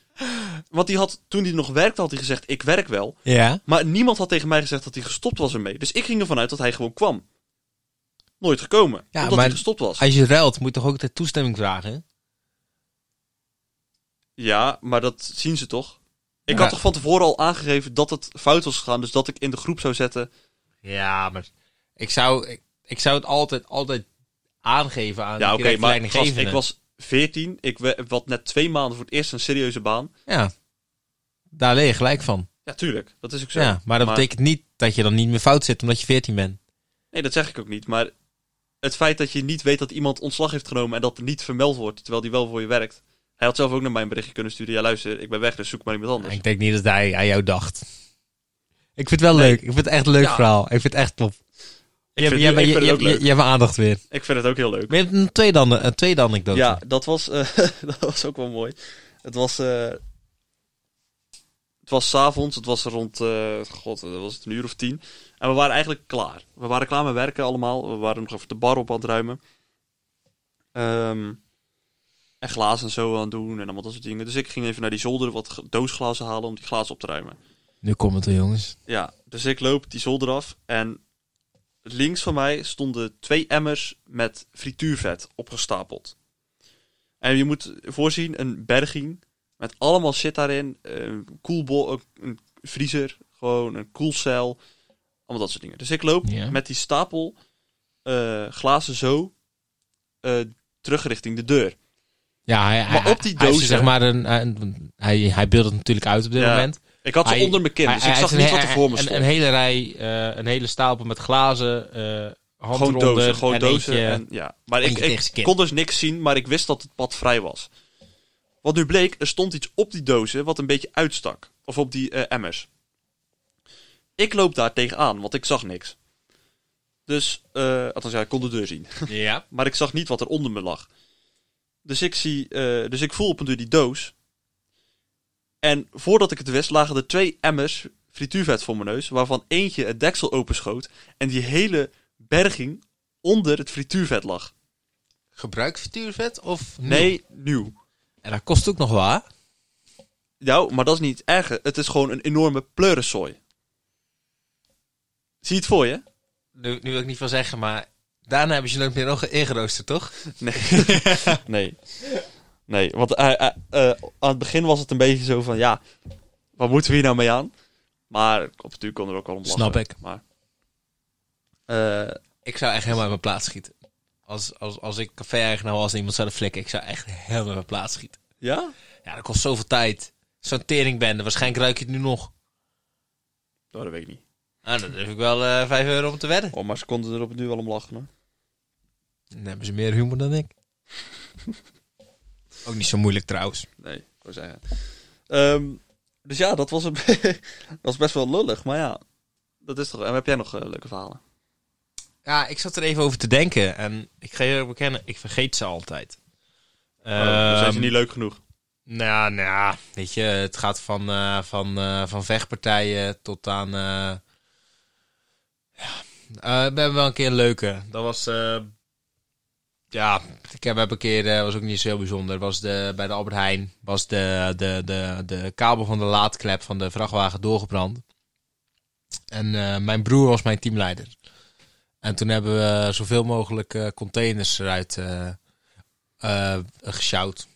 Speaker 1: Want die had, toen hij nog werkte, had hij gezegd: Ik werk wel.
Speaker 2: Ja,
Speaker 1: Maar niemand had tegen mij gezegd dat hij gestopt was ermee. Dus ik ging ervan uit dat hij gewoon kwam. Nooit gekomen.
Speaker 2: Ja,
Speaker 1: omdat
Speaker 2: maar-
Speaker 1: hij gestopt was.
Speaker 2: als je ruilt, moet je toch ook de toestemming vragen?
Speaker 1: Ja, maar dat zien ze toch? Ik
Speaker 2: Ja.
Speaker 1: had toch van tevoren al aangegeven dat het fout was gegaan. Dus dat ik in de groep zou zetten.
Speaker 2: Ja, maar ik zou, ik, ik zou het altijd, altijd aangeven aan
Speaker 1: ja,
Speaker 2: de
Speaker 1: oké,
Speaker 2: directe
Speaker 1: maar gast,
Speaker 2: leidinggevende.
Speaker 1: ik was 14. Ik we- had net twee maanden voor het eerst een serieuze baan.
Speaker 2: Ja, daar leer je gelijk van.
Speaker 1: Ja, tuurlijk. Dat is ook zo.
Speaker 2: ja, maar dat betekent niet dat je dan niet meer fout zit omdat je 14 bent.
Speaker 1: Nee, dat zeg ik ook niet. Maar het feit dat je niet weet dat iemand ontslag heeft genomen en dat er niet vermeld wordt, terwijl die wel voor je werkt. Hij had zelf ook naar mij een berichtje kunnen sturen. Ja, luister, ik ben weg, dus zoek maar iemand anders.
Speaker 2: Ik denk niet dat hij aan jou dacht. Ik vind het wel leuk. Ik vind het echt een leuk
Speaker 1: Ja.
Speaker 2: verhaal. Ik vind het echt top. Je,
Speaker 1: vind-
Speaker 2: je,
Speaker 1: ik
Speaker 2: je,
Speaker 1: vind het
Speaker 2: je-
Speaker 1: ook
Speaker 2: je-
Speaker 1: leuk.
Speaker 2: je hebt mijn aandacht weer.
Speaker 1: Ik vind het ook heel leuk.
Speaker 2: Maar je hebt een tweede, ane- een tweede anekdote.
Speaker 1: Ja, dat was, eh, dat was ook wel mooi. Het was, eh, het was 's avonds, het was rond, eh, god, dat was het een uur of tien. En we waren eigenlijk klaar. We waren klaar met werken allemaal. We waren nog even de bar op aan het ruimen. Ehm, en glazen en zo aan het doen en allemaal dat soort dingen. Dus ik ging even naar die zolder wat g- doosglazen halen om die glazen op te ruimen.
Speaker 2: Nu komt het er, jongens.
Speaker 1: Ja, dus ik loop die zolder af en links van mij stonden twee emmers met frituurvet opgestapeld. En je moet voorzien een berging met allemaal shit daarin. Een koelbol, een vriezer, gewoon een koelcel, allemaal dat soort dingen. Dus ik loop
Speaker 2: Ja.
Speaker 1: met die stapel eh, glazen zo eh, terug richting de deur.
Speaker 2: Ja, hij,
Speaker 1: Maar
Speaker 2: hij-
Speaker 1: op die
Speaker 2: hij is
Speaker 1: dozen-
Speaker 2: zeg maar een, een- hij, hij beeldt het natuurlijk uit op dit
Speaker 1: Ja.
Speaker 2: moment.
Speaker 1: Ik had ze
Speaker 2: Hij-
Speaker 1: onder mijn kin,
Speaker 2: Hij-
Speaker 1: dus
Speaker 2: hij
Speaker 1: ik zag
Speaker 2: heeft
Speaker 1: niet
Speaker 2: een-
Speaker 1: wat er voor me
Speaker 2: een-
Speaker 1: stond.
Speaker 2: Een, hele rij, eh, een hele stapel met glazen, eh hand
Speaker 1: Gewoon
Speaker 2: eronder
Speaker 1: dozen, gewoon
Speaker 2: en
Speaker 1: dozen.
Speaker 2: eentje-
Speaker 1: en, ja. Maar
Speaker 2: eentje
Speaker 1: ik,
Speaker 2: tegen zijn
Speaker 1: ik
Speaker 2: kin.
Speaker 1: kon dus niks zien, maar ik wist dat het pad vrij was. Wat nu bleek, er stond iets op die dozen wat een beetje uitstak. Of op die eh, emmers. Ik loop daar tegenaan, want ik zag niks. Dus, eh althans ja, ik kon de deur zien.
Speaker 2: Ja.
Speaker 1: Maar ik zag niet wat er onder me lag. Dus ik, zie, eh, dus ik voel op een duur die doos. En voordat ik het wist, lagen er twee emmers frituurvet voor mijn neus. Waarvan eentje het deksel openschoot. En die hele berging onder het frituurvet lag.
Speaker 2: Gebruik frituurvet of nieuw?
Speaker 1: Nee, nieuw.
Speaker 2: En dat kost ook nog wel, hè?
Speaker 1: Nou, maar dat is niet erger. Het is gewoon een enorme pleurensooi. Zie je het voor je?
Speaker 2: Nu, nu wil ik niet van zeggen, maar daarna hebben ze nooit meer nog ingeroosterd, toch?
Speaker 1: Nee. nee. Nee, want eh, eh, eh, aan het begin was het een beetje zo van, ja, wat moeten we hier nou mee aan? Maar op het duur kon er ook wel om lachen.
Speaker 2: Snap ik.
Speaker 1: Maar, eh,
Speaker 2: Ik zou echt helemaal uit mijn plaats schieten. Als, als, als ik café-eigenaar was en iemand zou flikken, ik zou echt helemaal uit mijn plaats schieten.
Speaker 1: ja?
Speaker 2: Ja, dat kost zoveel tijd. Zo'n teringbende, waarschijnlijk ruik je het nu nog.
Speaker 1: Oh, dat weet ik niet.
Speaker 2: Ah, dan durf ik wel eh 5 euro om te wedden.
Speaker 1: Oh, maar ze konden er op het duur wel om lachen, hoor.
Speaker 2: Dan hebben ze meer humor dan ik. Ook niet zo moeilijk trouwens.
Speaker 1: Nee, ik wou zeggen. Ehm, dus ja, dat was, een dat was best wel lullig, maar ja, dat is toch... En heb jij nog eh, leuke verhalen?
Speaker 2: Ja, ik zat er even over te denken en ik ga je ook bekennen, ik vergeet ze altijd.
Speaker 1: Oh, dan zijn ze
Speaker 2: Ehm,
Speaker 1: niet leuk genoeg.
Speaker 2: Nou, nou, weet je, het gaat van, eh, van, eh, van vechtpartijen tot aan. eh, ja. Eh, we hebben wel een keer een leuke. Dat was. eh, Ja, ik heb, heb een keer, eh, was ook niet zo heel bijzonder, was de, bij de Albert Heijn, was de, de, de, de kabel van de laadklep van de vrachtwagen doorgebrand. En eh, mijn broer was mijn teamleider. En toen hebben we zoveel mogelijk eh, containers eruit eh eh, gesjouwd.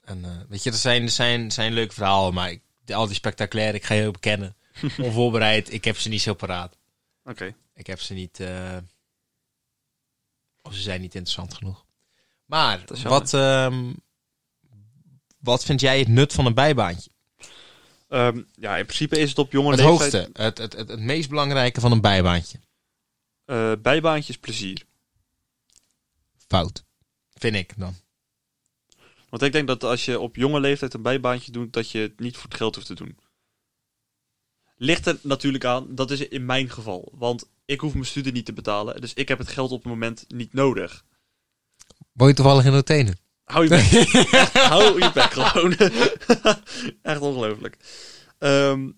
Speaker 2: En eh, weet je, dat zijn, dat zijn, dat zijn leuke verhalen, maar ik, al die spectaculaire, ik ga je ook bekennen. Onvoorbereid, ik heb ze niet zo paraat.
Speaker 1: Oké.
Speaker 2: Ik heb ze niet. eh, of ze zijn niet interessant genoeg. Maar
Speaker 1: Dat is jammer.
Speaker 2: wat, ehm, wat vind jij het nut van een bijbaantje?
Speaker 1: Ehm, ja, in principe is het op jonge
Speaker 2: het
Speaker 1: leeftijd...
Speaker 2: hoogste, het, het, het, het meest belangrijke van een bijbaantje.
Speaker 1: eh, bijbaantjes plezier.
Speaker 2: Fout. Vind ik dan.
Speaker 1: Want ik denk dat als je op jonge leeftijd een bijbaantje doet, dat je het niet voor het geld hoeft te doen. Ligt er natuurlijk aan, dat is in mijn geval. Want ik hoef mijn studie niet te betalen, dus ik heb het geld op het moment niet nodig.
Speaker 2: Woon je toevallig in Rotenen?
Speaker 1: Hou je bek. Hou je bek gewoon. Echt ongelooflijk. Ehm,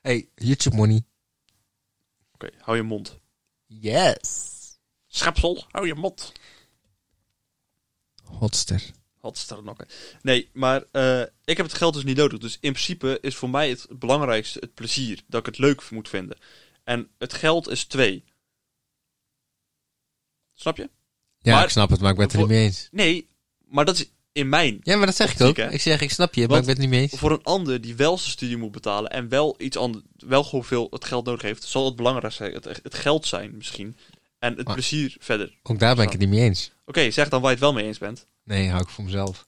Speaker 2: hey, YouTube money.
Speaker 1: Oké, hou je mond.
Speaker 2: Yes.
Speaker 1: Schepsel, hou je mond.
Speaker 2: Hotster.
Speaker 1: Wat nog? Nee, maar eh, ik heb het geld dus niet nodig. Dus in principe is voor mij het belangrijkste het plezier. Dat ik het leuk moet vinden. En het geld is twee. Snap je?
Speaker 2: Ja,
Speaker 1: Maar-
Speaker 2: ik snap het, maar ik ben het er niet mee eens.
Speaker 1: Nee, maar dat is in mijn.
Speaker 2: Ja, maar dat zeg ik ook.
Speaker 1: Ziek, hè?
Speaker 2: Ik zeg, ik snap je, maar
Speaker 1: Want-
Speaker 2: ik ben het niet mee eens.
Speaker 1: Voor een ander die wel zijn studie moet betalen en wel iets anders, wel gewoon veel het geld nodig heeft, zal het belangrijkste het, het geld zijn misschien. En het
Speaker 2: Maar-
Speaker 1: plezier verder. Oké,
Speaker 2: Ook daar ben ik het niet mee eens.
Speaker 1: zeg dan waar je het wel mee eens bent.
Speaker 2: Nee, hou ik voor mezelf.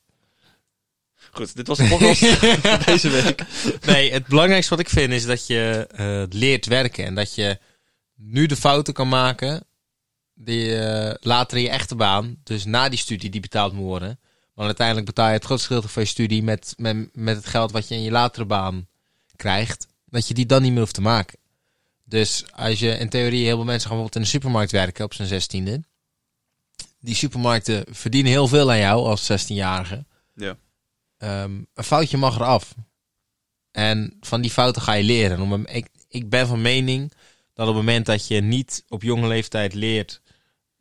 Speaker 1: Goed, dit was de podcast van deze week.
Speaker 2: Nee, het belangrijkste wat ik vind is dat je eh, leert werken. En dat je nu de fouten kan maken die je later in je echte baan, dus na die studie, die betaald moet worden. Want uiteindelijk betaal je het grootste gedeelte van je studie met, met, met het geld wat je in je latere baan krijgt. Dat je die dan niet meer hoeft te maken. Dus als je in theorie heel veel mensen gaan bijvoorbeeld in de supermarkt werken op zijn zestiende. Die supermarkten verdienen heel veel aan jou als 16-jarige.
Speaker 1: Ja.
Speaker 2: Ehm, een foutje mag eraf. En van die fouten ga je leren. En op een- ik, ik ben van mening dat op het moment dat je niet op jonge leeftijd leert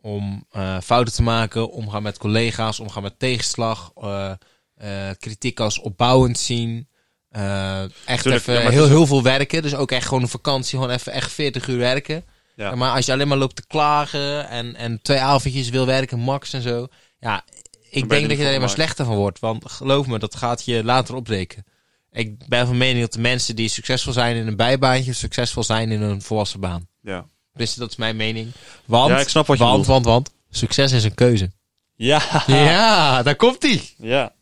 Speaker 2: om eh, fouten te maken, omgaan met collega's, omgaan met tegenslag, eh, eh, kritiek als opbouwend zien. eh, echt
Speaker 1: Tuurlijk,
Speaker 2: even
Speaker 1: ja, maar het
Speaker 2: heel,
Speaker 1: is
Speaker 2: heel veel werken. Dus ook echt gewoon een vakantie, gewoon even echt 40 uur werken.
Speaker 1: Ja.
Speaker 2: Ja, Maar als je alleen maar loopt te klagen en, en twee avondjes wil werken, max en zo. Ja,
Speaker 1: je
Speaker 2: ik
Speaker 1: er
Speaker 2: denk
Speaker 1: niet
Speaker 2: dat
Speaker 1: voor
Speaker 2: je er alleen maar
Speaker 1: gemaakt.
Speaker 2: slechter van wordt. Want geloof me, dat gaat je later opbreken. Ik ben van mening dat de mensen die succesvol zijn in een bijbaantje, succesvol zijn in een volwassen baan.
Speaker 1: Ja.
Speaker 2: Dus dat is mijn mening. Want,
Speaker 1: Ja, ik snap wat je
Speaker 2: want,
Speaker 1: bedoelt.
Speaker 2: want, want, succes is een keuze.
Speaker 1: Ja.
Speaker 2: Ja, daar komt ie.
Speaker 1: Ja.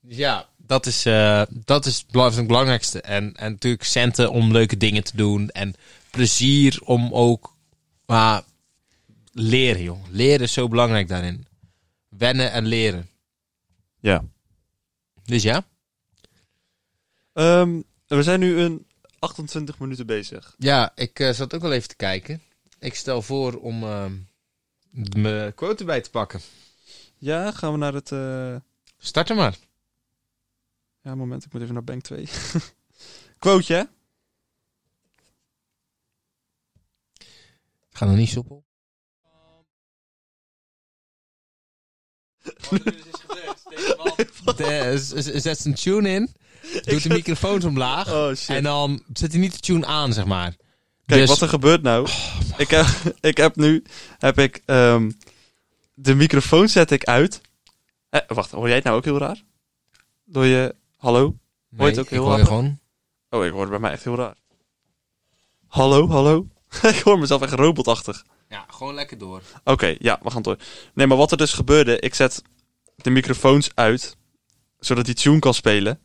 Speaker 2: Dus Ja, dat is, eh, dat is bla- het belangrijkste. En, en natuurlijk centen om leuke dingen te doen. En plezier om ook... Maar leren, jong. Leren is zo belangrijk daarin. Wennen en leren.
Speaker 1: Ja.
Speaker 2: Dus ja?
Speaker 1: Ehm, we zijn nu een 28 minuten bezig.
Speaker 2: Ja, ik eh, zat ook wel even te kijken. Ik stel voor om ehm, mijn quote bij te pakken.
Speaker 1: Ja, gaan we naar het... eh,
Speaker 2: Start er maar.
Speaker 1: Ja, moment, ik moet even naar Bank 2. Quoteje, hè?
Speaker 2: Ga nog niet soepel. eh, Zet zijn tune in. Doet de microfoons omlaag.
Speaker 1: Oh, shit.
Speaker 2: En dan zet hij niet de tune aan, zeg maar.
Speaker 1: Kijk,
Speaker 2: dus-
Speaker 1: wat er gebeurt nou... ik, heb, ik heb nu... Heb ik... ehm, de microfoon zet ik uit. Eh, wacht, hoor jij het nou ook heel raar? Door je... Hallo? Hoor je het ook heel
Speaker 2: ik hoor je
Speaker 1: hard?
Speaker 2: gewoon.
Speaker 1: Oh, ik hoor het bij mij echt heel raar. Hallo, hallo? ik hoor mezelf echt robotachtig.
Speaker 2: Ja, gewoon lekker door.
Speaker 1: Oké, ja, we gaan door. Nee, maar wat er dus gebeurde, ik zet de microfoons uit, zodat die tune kan spelen.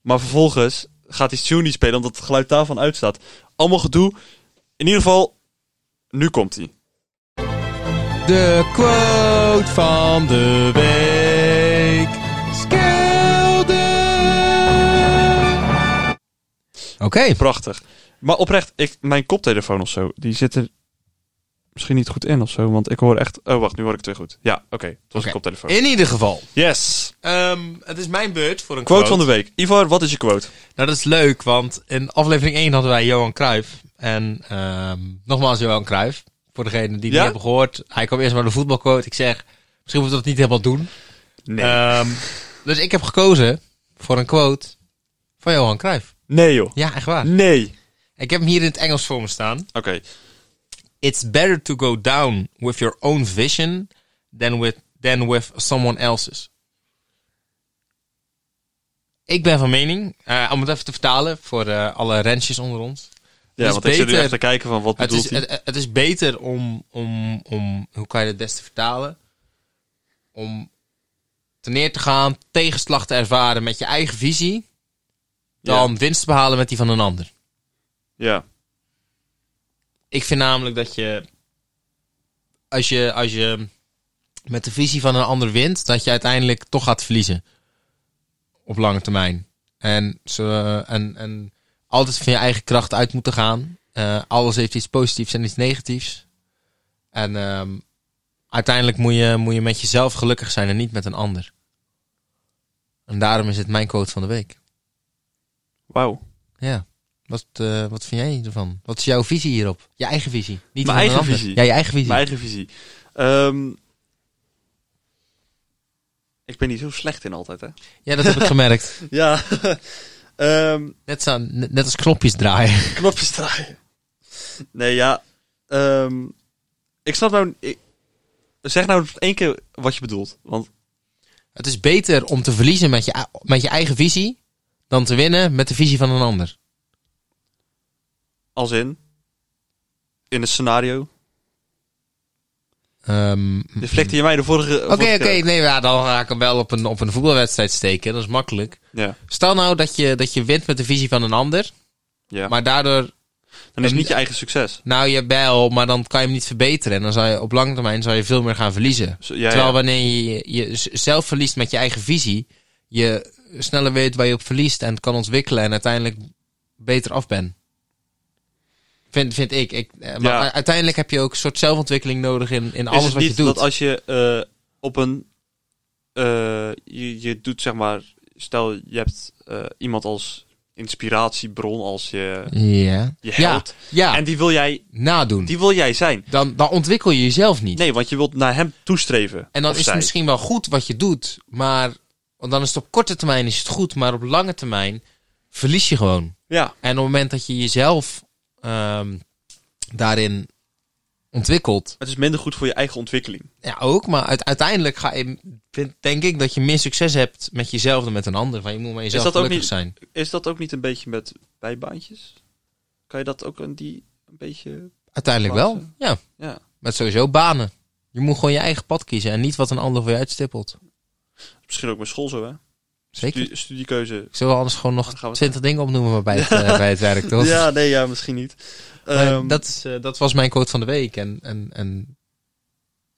Speaker 1: Maar vervolgens gaat die tune niet spelen, omdat het geluid daarvan uitstaat. Allemaal gedoe. In ieder geval, nu komt hij.
Speaker 2: De quote van de week. Skelder. Oké.
Speaker 1: Prachtig. Maar oprecht, ik, mijn koptelefoon of zo, die zit er misschien niet goed in of zo, want ik hoor echt... Oh, wacht, nu hoor ik het weer goed. Ja, oké, het was
Speaker 2: Oké.
Speaker 1: een koptelefoon.
Speaker 2: In ieder geval.
Speaker 1: Yes!
Speaker 2: Ehm, het is mijn beurt voor een
Speaker 1: Quote van de week. Ivar, wat is je quote?
Speaker 2: Nou, dat is leuk, want in aflevering 1 hadden wij Johan Cruijff. En ehm, nogmaals Johan Cruijf. Voor degene die het
Speaker 1: Ja?
Speaker 2: niet hebben gehoord. Hij kwam eerst maar de voetbalquote. Ik zeg, Misschien moeten we dat niet helemaal doen.
Speaker 1: Nee.
Speaker 2: Ehm, dus ik heb gekozen voor een quote van Johan Cruijff.
Speaker 1: nee, joh.
Speaker 2: Ja, echt waar.
Speaker 1: Nee.
Speaker 2: Ik heb hem hier in het Engels voor me staan.
Speaker 1: Oké.
Speaker 2: It's better to go down with your own vision than with, than with someone else's. Ik ben van mening, eh, om het even te vertalen voor eh, alle rensjes onder ons.
Speaker 1: Ja,
Speaker 2: is
Speaker 1: want ik zit nu
Speaker 2: beter-
Speaker 1: echt te kijken van wat
Speaker 2: Het
Speaker 1: bedoelt
Speaker 2: is,
Speaker 1: hij?
Speaker 2: het, het is beter om, om, om, hoe kan je dat beste vertalen? Om te neer te gaan, tegenslag te ervaren met je eigen visie, dan winst te behalen met die van een ander.
Speaker 1: Ja.
Speaker 2: Ik vind namelijk dat je als, je, als je met de visie van een ander wint, dat je uiteindelijk toch gaat verliezen. Op lange termijn. En, ze, en, en altijd van je eigen kracht uit moeten gaan. Eh, alles heeft iets positiefs en iets negatiefs. En ehm, uiteindelijk moet je, moet je met jezelf gelukkig zijn en niet met een ander. En daarom is het mijn quote van de week.
Speaker 1: Wauw.
Speaker 2: Ja. Wat, eh, wat vind jij ervan? Wat is jouw visie hierop? Je eigen visie. Niet
Speaker 1: Mijn
Speaker 2: die van een
Speaker 1: eigen
Speaker 2: ander.
Speaker 1: visie?
Speaker 2: Ja, je eigen visie.
Speaker 1: Mijn eigen visie. Ehm, ik ben niet zo slecht in altijd, hè?
Speaker 2: Ja, dat heb ik gemerkt.
Speaker 1: Ja. Ehm,
Speaker 2: Net, zo, net net als knopjes draaien.
Speaker 1: knopjes draaien. Nee, ja. ehm, ik snap nou... ik- zeg nou één keer wat je bedoelt. Want
Speaker 2: Het is beter om te verliezen met je, met je eigen visie dan te winnen met de visie van een ander.
Speaker 1: als in... In het scenario.
Speaker 2: Ehm,
Speaker 1: Dit vlekte je mij de vorige...
Speaker 2: Oké,
Speaker 1: vorige
Speaker 2: oké.
Speaker 1: keer ook.
Speaker 2: Nee, ja, dan ga ik hem wel op een, op een voetbalwedstrijd steken. Dat is makkelijk.
Speaker 1: Ja,
Speaker 2: Stel nou dat je, dat je wint met de visie van een ander.
Speaker 1: ja.
Speaker 2: Maar daardoor,
Speaker 1: Dan is het niet je eigen succes.
Speaker 2: nou je wel, maar dan kan je hem niet verbeteren. En dan zou je op lange termijn zou je veel meer gaan verliezen.
Speaker 1: Zo- ja,
Speaker 2: Terwijl
Speaker 1: ja.
Speaker 2: wanneer je jezelf verliest met je eigen visie, je sneller weet waar je op verliest en het kan ontwikkelen en uiteindelijk beter af bent. Vind, vind ik. ik eh, maar
Speaker 1: Ja.
Speaker 2: u- uiteindelijk heb je ook een soort zelfontwikkeling nodig in, in
Speaker 1: is
Speaker 2: Nou, alles
Speaker 1: het
Speaker 2: wat
Speaker 1: niet
Speaker 2: je doet.
Speaker 1: dat als je eh, op een... eh, je, je doet zeg maar... Stel, je hebt eh, iemand als inspiratiebron, als je,
Speaker 2: Ja,
Speaker 1: je
Speaker 2: Ja.
Speaker 1: held.
Speaker 2: ja
Speaker 1: En die wil, jij,
Speaker 2: nadoen.
Speaker 1: die wil jij zijn.
Speaker 2: Dan, dan ontwikkel je jezelf niet.
Speaker 1: Nee, want je wilt naar hem toestreven.
Speaker 2: en dan
Speaker 1: of
Speaker 2: is
Speaker 1: zij.
Speaker 2: het misschien wel goed wat je doet, maar want dan is het op korte termijn is het goed, maar op lange termijn verlies je gewoon.
Speaker 1: Ja,
Speaker 2: En op het moment dat je jezelf ehm, daarin ontwikkelt,
Speaker 1: het is minder goed voor je eigen ontwikkeling.
Speaker 2: ja ook, maar uit- uiteindelijk ga je, vind- denk ik dat je meer succes hebt met jezelf dan met een ander. Want je moet met jezelf
Speaker 1: dat ook
Speaker 2: gelukkig
Speaker 1: niet-
Speaker 2: zijn.
Speaker 1: Is dat ook niet een beetje met bijbaantjes? Kan je dat ook een, die, een beetje...
Speaker 2: Uiteindelijk wel,
Speaker 1: Kansen.
Speaker 2: ja.
Speaker 1: Ja.
Speaker 2: Met sowieso banen. Je moet gewoon je eigen pad kiezen en niet wat een ander voor je uitstippelt.
Speaker 1: Misschien ook met school zo, hè?
Speaker 2: Zeker.
Speaker 1: Studie- studiekeuze.
Speaker 2: Ik zal wel anders gewoon nog
Speaker 1: Dan gaan we-
Speaker 2: twintig dingen opnoemen maar bij het, eh, bij het werk, toch?
Speaker 1: Ja, nee, ja, misschien niet.
Speaker 2: Maar
Speaker 1: Ehm,
Speaker 2: dat, is, eh, dat was mijn quote van de week. En, en, en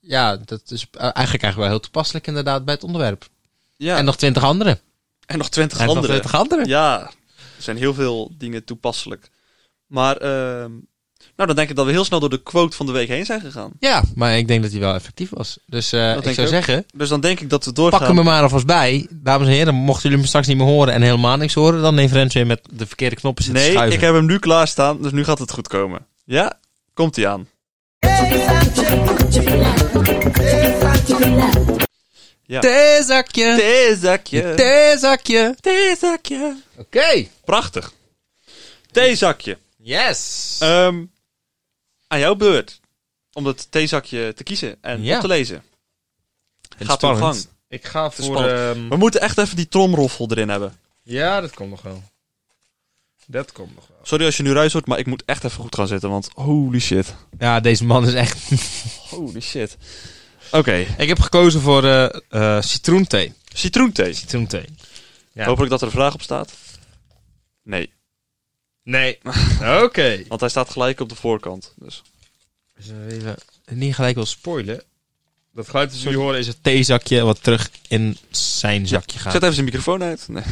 Speaker 2: ja, dat is eh, eigenlijk, eigenlijk wel heel toepasselijk inderdaad bij het onderwerp.
Speaker 1: ja.
Speaker 2: En nog twintig andere.
Speaker 1: en nog twintig
Speaker 2: En nog
Speaker 1: andere.
Speaker 2: 20 andere.
Speaker 1: Ja, er zijn heel veel dingen toepasselijk. Maar, ehm, nou, dan denk ik dat we heel snel door de quote van de week heen zijn gegaan.
Speaker 2: Ja, maar ik denk dat hij wel effectief was. Dus eh,
Speaker 1: denk
Speaker 2: ik
Speaker 1: ik
Speaker 2: zou
Speaker 1: ook.
Speaker 2: zeggen,
Speaker 1: Dus dan denk ik dat we doorgaan.
Speaker 2: pak hem er maar alvast bij. Dames en heren, mochten jullie hem straks niet meer horen en helemaal niks horen, dan heeft Rens weer met de verkeerde knoppen zitten
Speaker 1: nee,
Speaker 2: schuiven.
Speaker 1: ik heb hem nu klaarstaan, dus nu gaat het goed komen. Ja, komt hij aan.
Speaker 2: Theezakje,
Speaker 1: Theezakje.
Speaker 2: theezakje.
Speaker 1: Theezakje.
Speaker 2: Oké.
Speaker 1: Prachtig. Theezakje.
Speaker 2: Yes.
Speaker 1: Ehm aan jouw beurt. Om dat theezakje te kiezen en
Speaker 2: Ja.
Speaker 1: op te lezen.
Speaker 2: Vind
Speaker 1: gaat
Speaker 2: het
Speaker 1: uw
Speaker 2: spannend.
Speaker 1: gang.
Speaker 2: Ik ga
Speaker 1: is
Speaker 2: voor... ehm,
Speaker 1: We moeten echt even die tromroffel erin hebben.
Speaker 2: ja, dat komt nog wel. Dat komt nog wel.
Speaker 1: Sorry als je nu ruis hoort, maar ik moet echt even goed gaan zitten, want holy shit.
Speaker 2: Ja, deze man is echt...
Speaker 1: Holy shit. Oké,
Speaker 2: ik heb gekozen voor eh, eh, citroenthee.
Speaker 1: citroenthee.
Speaker 2: Citroenthee. Ja.
Speaker 1: Hopelijk dat er een vraag op staat. Nee,
Speaker 2: Nee. Oké.
Speaker 1: want hij staat gelijk op de voorkant. Dus.
Speaker 2: Dus we even niet gelijk wil spoilen. Dat geluid dat jullie horen is het theezakje wat terug in zijn zakje gaat.
Speaker 1: Zet even zijn microfoon uit. Nee.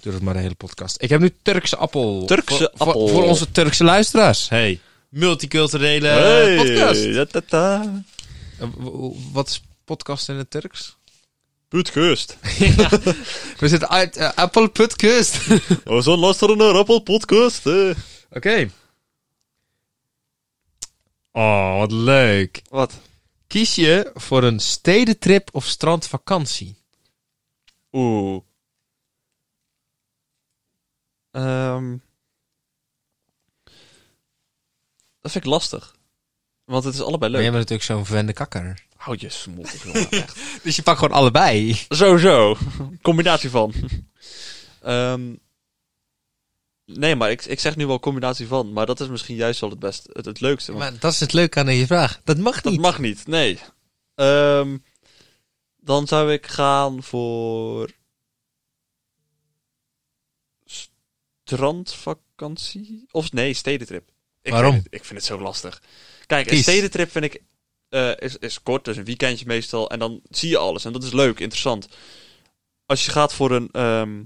Speaker 2: Doe dat maar de hele podcast. Ik heb nu Turkse appel.
Speaker 1: Turkse
Speaker 2: Voor- voor,
Speaker 1: appel.
Speaker 2: Voor onze Turkse luisteraars. Hey. Multiculturele eh,
Speaker 1: Hey,
Speaker 2: podcast.
Speaker 1: da, da, da.
Speaker 2: Eh, w- w- Wat is podcast in het Turks?
Speaker 1: Podcast.
Speaker 2: We zitten uit eh, appelpodcast. Oké.
Speaker 1: Oh, zo'n lasterende rappel podcast. eh.
Speaker 2: Oh, wat leuk.
Speaker 1: Wat?
Speaker 2: Kies je voor een stedentrip of strandvakantie?
Speaker 1: Oeh. Ehm. dat vind ik lastig. Want het is allebei
Speaker 2: Maar
Speaker 1: leuk.
Speaker 2: jij bent natuurlijk zo'n verwende kakker.
Speaker 1: Houd je smoel, jongen, echt.
Speaker 2: Dus je pakt gewoon allebei.
Speaker 1: Sowieso. Combinatie van. Ehm, nee, maar ik, ik zeg nu wel combinatie van. Maar dat is misschien juist wel het beste, het, het leukste. want
Speaker 2: Maar dat is het leuke aan deze vraag. Dat mag
Speaker 1: dat
Speaker 2: niet.
Speaker 1: mag niet, nee. Ehm, dan zou ik gaan voor... Strandvakantie? Of nee, stedentrip. Ik
Speaker 2: Waarom?
Speaker 1: Vind het, ik vind het zo lastig. Kijk, een
Speaker 2: Kies.
Speaker 1: stedentrip vind ik... eh, is, is kort, dus een weekendje meestal. En dan zie je alles. En dat is leuk, interessant. Als je gaat voor een... ehm,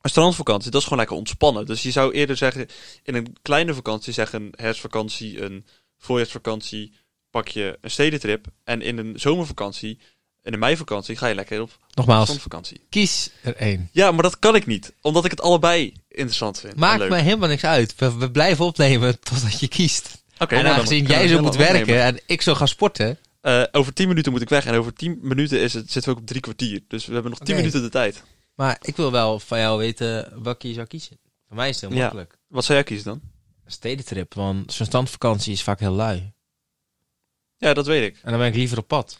Speaker 1: een strandvakantie, dat is gewoon lekker ontspannen. Dus je zou eerder zeggen, in een kleine vakantie, zeg een herfstvakantie, een voorjaarsvakantie, pak je een stedentrip. En in een zomervakantie, in een meivakantie, ga je lekker op
Speaker 2: Nogmaals,
Speaker 1: strandvakantie.
Speaker 2: kies er één.
Speaker 1: Ja, maar dat kan ik niet, omdat ik het allebei interessant vind. en
Speaker 2: Maakt
Speaker 1: Ah, leuk.
Speaker 2: mij helemaal niks uit. We, we blijven opnemen totdat je kiest.
Speaker 1: Oké, nou,
Speaker 2: en
Speaker 1: dan
Speaker 2: aangezien
Speaker 1: kunnen we
Speaker 2: jij zo
Speaker 1: heel
Speaker 2: moet
Speaker 1: lang
Speaker 2: werken
Speaker 1: opnemen.
Speaker 2: en ik zo ga sporten.
Speaker 1: Eh, over 10 minuten moet ik weg en over 10 minuten is het, zitten we ook op drie kwartier. Dus we hebben nog 10
Speaker 2: Oké.
Speaker 1: minuten de tijd.
Speaker 2: Maar ik wil wel van jou weten welke je zou kiezen. Voor mij is het heel
Speaker 1: Ja.
Speaker 2: makkelijk.
Speaker 1: Wat zou jij kiezen dan?
Speaker 2: Een stedentrip, want zo'n standvakantie is vaak heel lui.
Speaker 1: Ja, dat weet ik.
Speaker 2: En dan ben ik liever op pad.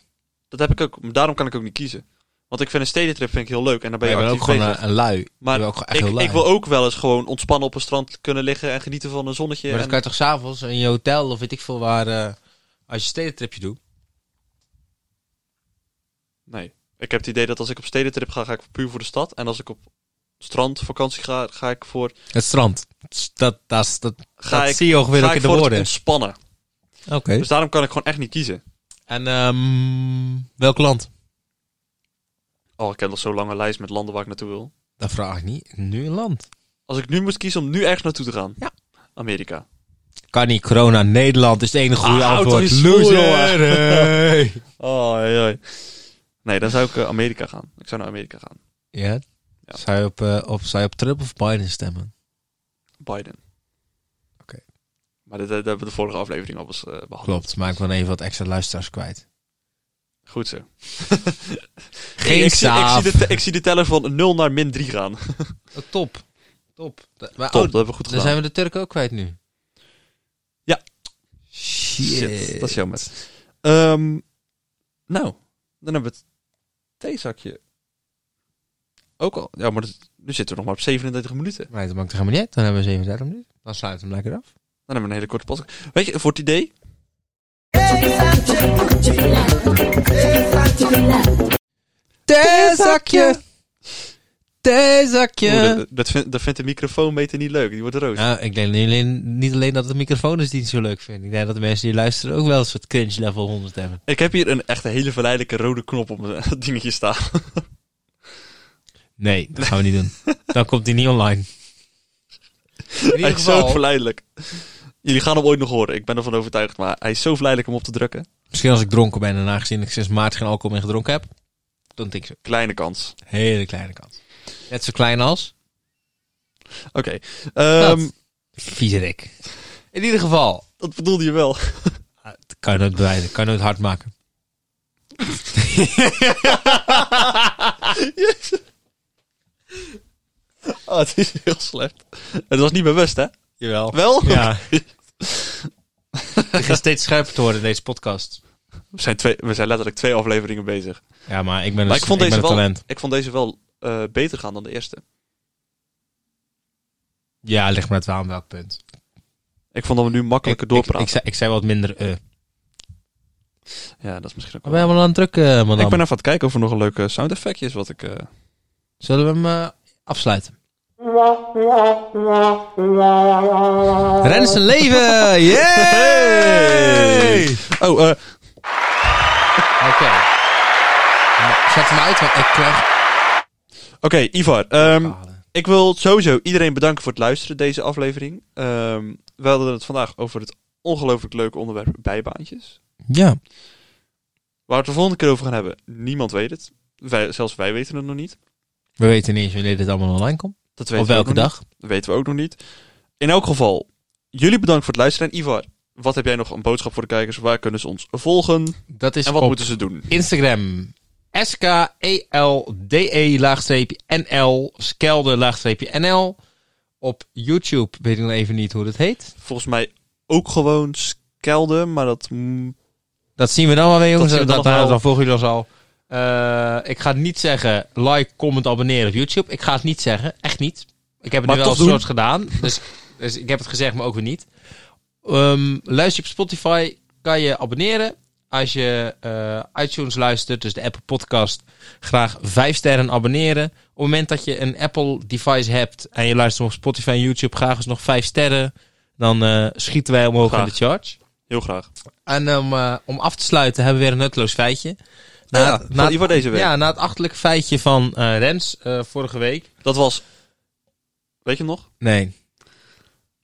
Speaker 1: Dat heb ik ook. maar Daarom kan ik ook niet kiezen. Want ik vind een stedentrip vind ik heel leuk en daar ben
Speaker 2: Maar
Speaker 1: je
Speaker 2: je bent ook
Speaker 1: actief
Speaker 2: gewoon
Speaker 1: bezig.
Speaker 2: een, een lui.
Speaker 1: Maar
Speaker 2: je bent ook gewoon echt
Speaker 1: Ik,
Speaker 2: heel lui.
Speaker 1: ik wil ook wel eens gewoon ontspannen op een strand kunnen liggen en genieten van een zonnetje.
Speaker 2: maar
Speaker 1: en-
Speaker 2: dat kan je toch s'avonds in je hotel of weet ik veel waar... eh, als je een stedentripje doet.
Speaker 1: Nee. Ik heb het idee dat als ik op stedentrip ga, ga ik puur voor de stad. En als ik op strandvakantie ga, ga ik voor,
Speaker 2: Het strand. Dat, dat, is- dat,
Speaker 1: ga
Speaker 2: dat
Speaker 1: ik,
Speaker 2: zie je ongeveer
Speaker 1: ga
Speaker 2: ook
Speaker 1: ik
Speaker 2: in de
Speaker 1: voor het
Speaker 2: woorden.
Speaker 1: ontspannen.
Speaker 2: Oké.
Speaker 1: Dus daarom kan ik gewoon echt niet kiezen.
Speaker 2: En ehm, welk land?
Speaker 1: Oh, ik heb nog zo'n lange lijst met landen waar ik naartoe wil.
Speaker 2: Dat vraag ik niet. Nu een land.
Speaker 1: Als ik nu moest kiezen om nu ergens naartoe te gaan.
Speaker 2: Ja.
Speaker 1: Amerika.
Speaker 2: Kan niet. Corona. Nederland is het enige goede
Speaker 1: Ah, houd toch
Speaker 2: antwoord.
Speaker 1: eens vol,
Speaker 2: Loser.
Speaker 1: jongen.
Speaker 2: hey.
Speaker 1: Oh, Nee, dan zou ik eh, Amerika gaan. Ik zou naar Amerika gaan.
Speaker 2: ja?
Speaker 1: Ja.
Speaker 2: Zou, je op, eh, op, zou je op Trump of Biden stemmen?
Speaker 1: Biden.
Speaker 2: Oké.
Speaker 1: Maar dat, dat hebben we de vorige aflevering al eens eh, behandeld.
Speaker 2: Klopt. Maar ik wil Dus even wat extra luisteraars kwijt.
Speaker 1: Goed zo.
Speaker 2: Geen
Speaker 1: ik, zie, ik,
Speaker 2: staaf.
Speaker 1: zie de, te- ik zie de teller van 0 naar min 3 gaan.
Speaker 2: Oh, top. Top. Da- maar,
Speaker 1: Top, dat
Speaker 2: oh,
Speaker 1: hebben we goed
Speaker 2: dan
Speaker 1: gedaan.
Speaker 2: zijn we de Turken ook kwijt nu.
Speaker 1: Ja.
Speaker 2: Shit.
Speaker 1: Shit, dat is jammer. Ehm, nou, dan hebben we het theezakje. Ook al. Ja, maar dat- nu zitten we nog maar op 37 minuten.
Speaker 2: Nee, dat maakt er helemaal niet uit. Dan hebben we 37 minuten. Dan sluiten we hem lekker af.
Speaker 1: Dan hebben we een hele korte podcast. Weet je, voor het idee.
Speaker 2: Theezakje.
Speaker 1: Oeh,
Speaker 2: Theezakje.
Speaker 1: dat, dat, vindt- dat vindt de microfoonmeter niet leuk. Die wordt rood.
Speaker 2: Nou, ik denk niet alleen, niet alleen dat de microfoons die niet zo leuk vinden. Ik denk dat de mensen die luisteren ook wel een soort cringe level 100 hebben.
Speaker 1: Ik heb hier een echt een hele verleidelijke rode knop op mijn dingetje staan.
Speaker 2: Nee, dat gaan we niet doen. Dan komt die niet online. In
Speaker 1: Hij
Speaker 2: ieder
Speaker 1: is zo
Speaker 2: geval,
Speaker 1: verleidelijk. Jullie gaan hem ooit nog horen. Ik ben ervan overtuigd. Maar hij is zo verleidelijk om op te drukken.
Speaker 2: misschien als ik dronken ben en aangezien ik sinds maart geen alcohol meer gedronken heb, dan denk ik zo.
Speaker 1: Kleine kans.
Speaker 2: Hele kleine kans. Net zo klein als.
Speaker 1: Oké. Ehm,
Speaker 2: Wat? Viezerik. In ieder geval.
Speaker 1: dat bedoelde je wel.
Speaker 2: Ah, Dat kan je nooit bewijzen. Kan je nooit hard maken.
Speaker 1: Ah, het is heel slecht. Het was niet bewust, hè?
Speaker 2: Jawel.
Speaker 1: Wel?
Speaker 2: Ja. ik ga steeds scherper te worden in deze podcast.
Speaker 1: We zijn, twee, we zijn letterlijk twee afleveringen bezig.
Speaker 2: Ja, maar ik ben een,
Speaker 1: Maar ik vond
Speaker 2: ik
Speaker 1: deze
Speaker 2: ben een
Speaker 1: wel-
Speaker 2: talent.
Speaker 1: Ik vond deze wel eh, beter gaan dan de eerste.
Speaker 2: Ja, ligt me net wel aan welk punt.
Speaker 1: Ik vond dat we nu makkelijker
Speaker 2: ik, ik,
Speaker 1: doorpraten.
Speaker 2: ik, zei, ik zei wat minder eh.
Speaker 1: ja, dat is misschien ook
Speaker 2: We
Speaker 1: wel.
Speaker 2: hebben aan het eh, drukken, man.
Speaker 1: ik ben even aan het kijken of er nog een leuke sound effectje is wat ik... eh,
Speaker 2: Zullen we hem eh, afsluiten? Ren is een leven!
Speaker 1: Hey!
Speaker 2: Yeah!
Speaker 1: Oh, eh,
Speaker 2: Oké. Nou, Zet hem uit, want ik krijg...
Speaker 1: oké, Ivar. ehm, ik wil sowieso iedereen bedanken voor het luisteren deze aflevering. Ehm, we hadden het vandaag over het ongelooflijk leuke onderwerp bijbaantjes.
Speaker 2: Ja.
Speaker 1: Waar we het de volgende keer over gaan hebben, niemand weet het. Wij, zelfs wij weten het nog niet.
Speaker 2: We weten niet eens wanneer dit allemaal online komt.
Speaker 1: Dat weten
Speaker 2: Op
Speaker 1: we ook
Speaker 2: welke
Speaker 1: nog
Speaker 2: dag.
Speaker 1: niet. Dat weten we ook nog niet. In elk geval, jullie bedankt voor het luisteren. En Ivar, Wat heb jij nog een boodschap voor de kijkers? Waar kunnen ze ons volgen?
Speaker 2: Dat is
Speaker 1: en wat
Speaker 2: op
Speaker 1: moeten ze doen?
Speaker 2: Instagram. E S-K-E-L-D-E E laagstreepje NL. Skelde laagstreepje NL. Op YouTube weet ik nog even niet hoe dat heet.
Speaker 1: Volgens mij ook gewoon Skelde, maar dat... mm,
Speaker 2: Dat zien we dan wel weer, jongens.
Speaker 1: zien
Speaker 2: Dat,
Speaker 1: we
Speaker 2: dat,
Speaker 1: dan nog wel.
Speaker 2: dan volgen jullie ons al. Eh, ik ga niet zeggen like, comment, abonneren op YouTube. Ik ga het niet zeggen. Echt niet. Ik heb het
Speaker 1: Maar
Speaker 2: nu wel
Speaker 1: toch
Speaker 2: een
Speaker 1: doen.
Speaker 2: soort gedaan. Dus, dus ik heb het gezegd, maar ook weer niet. Ehm, luister je op Spotify, kan je abonneren. Als je eh, iTunes luistert, dus de Apple Podcast, graag vijf sterren abonneren. Op het moment dat je een Apple device hebt en je luistert op Spotify en YouTube, graag eens nog vijf sterren. Dan eh, schieten wij omhoog in
Speaker 1: Graag.
Speaker 2: de charts.
Speaker 1: Heel graag.
Speaker 2: En om, eh, om af te sluiten hebben we weer een nutteloos feitje. Na,
Speaker 1: ja,
Speaker 2: na,
Speaker 1: voor, voor deze week.
Speaker 2: ja, na het achterlijke feitje van eh, Rens eh, vorige week.
Speaker 1: Dat was... Weet je nog?
Speaker 2: Nee.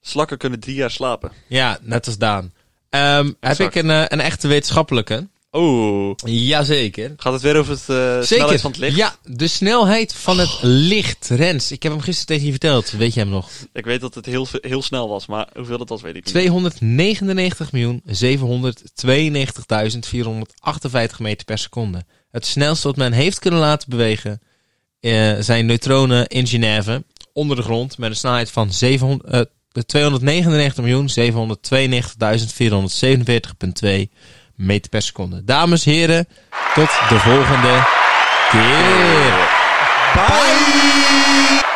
Speaker 1: Slakken kunnen drie jaar slapen.
Speaker 2: Ja, net als Daan. Ehm, heb
Speaker 1: Exact.
Speaker 2: ik een, eh, een echte wetenschappelijke?
Speaker 1: Oh,
Speaker 2: Jazeker.
Speaker 1: gaat het weer over het eh, snelheid van het licht?
Speaker 2: Ja, de snelheid van het licht. Rens, ik heb hem gisteren tegen je verteld. Weet je hem nog?
Speaker 1: Ik weet dat het heel, ve- heel snel was, maar hoeveel dat was weet ik niet.
Speaker 2: 299.792.458 meter per seconde. Het snelste wat men heeft kunnen laten bewegen eh, zijn neutronen in Genève onder de grond met een snelheid van 700 eh, 299.792.447,2 meter per seconde. Dames en heren, tot de volgende keer.
Speaker 1: Bye!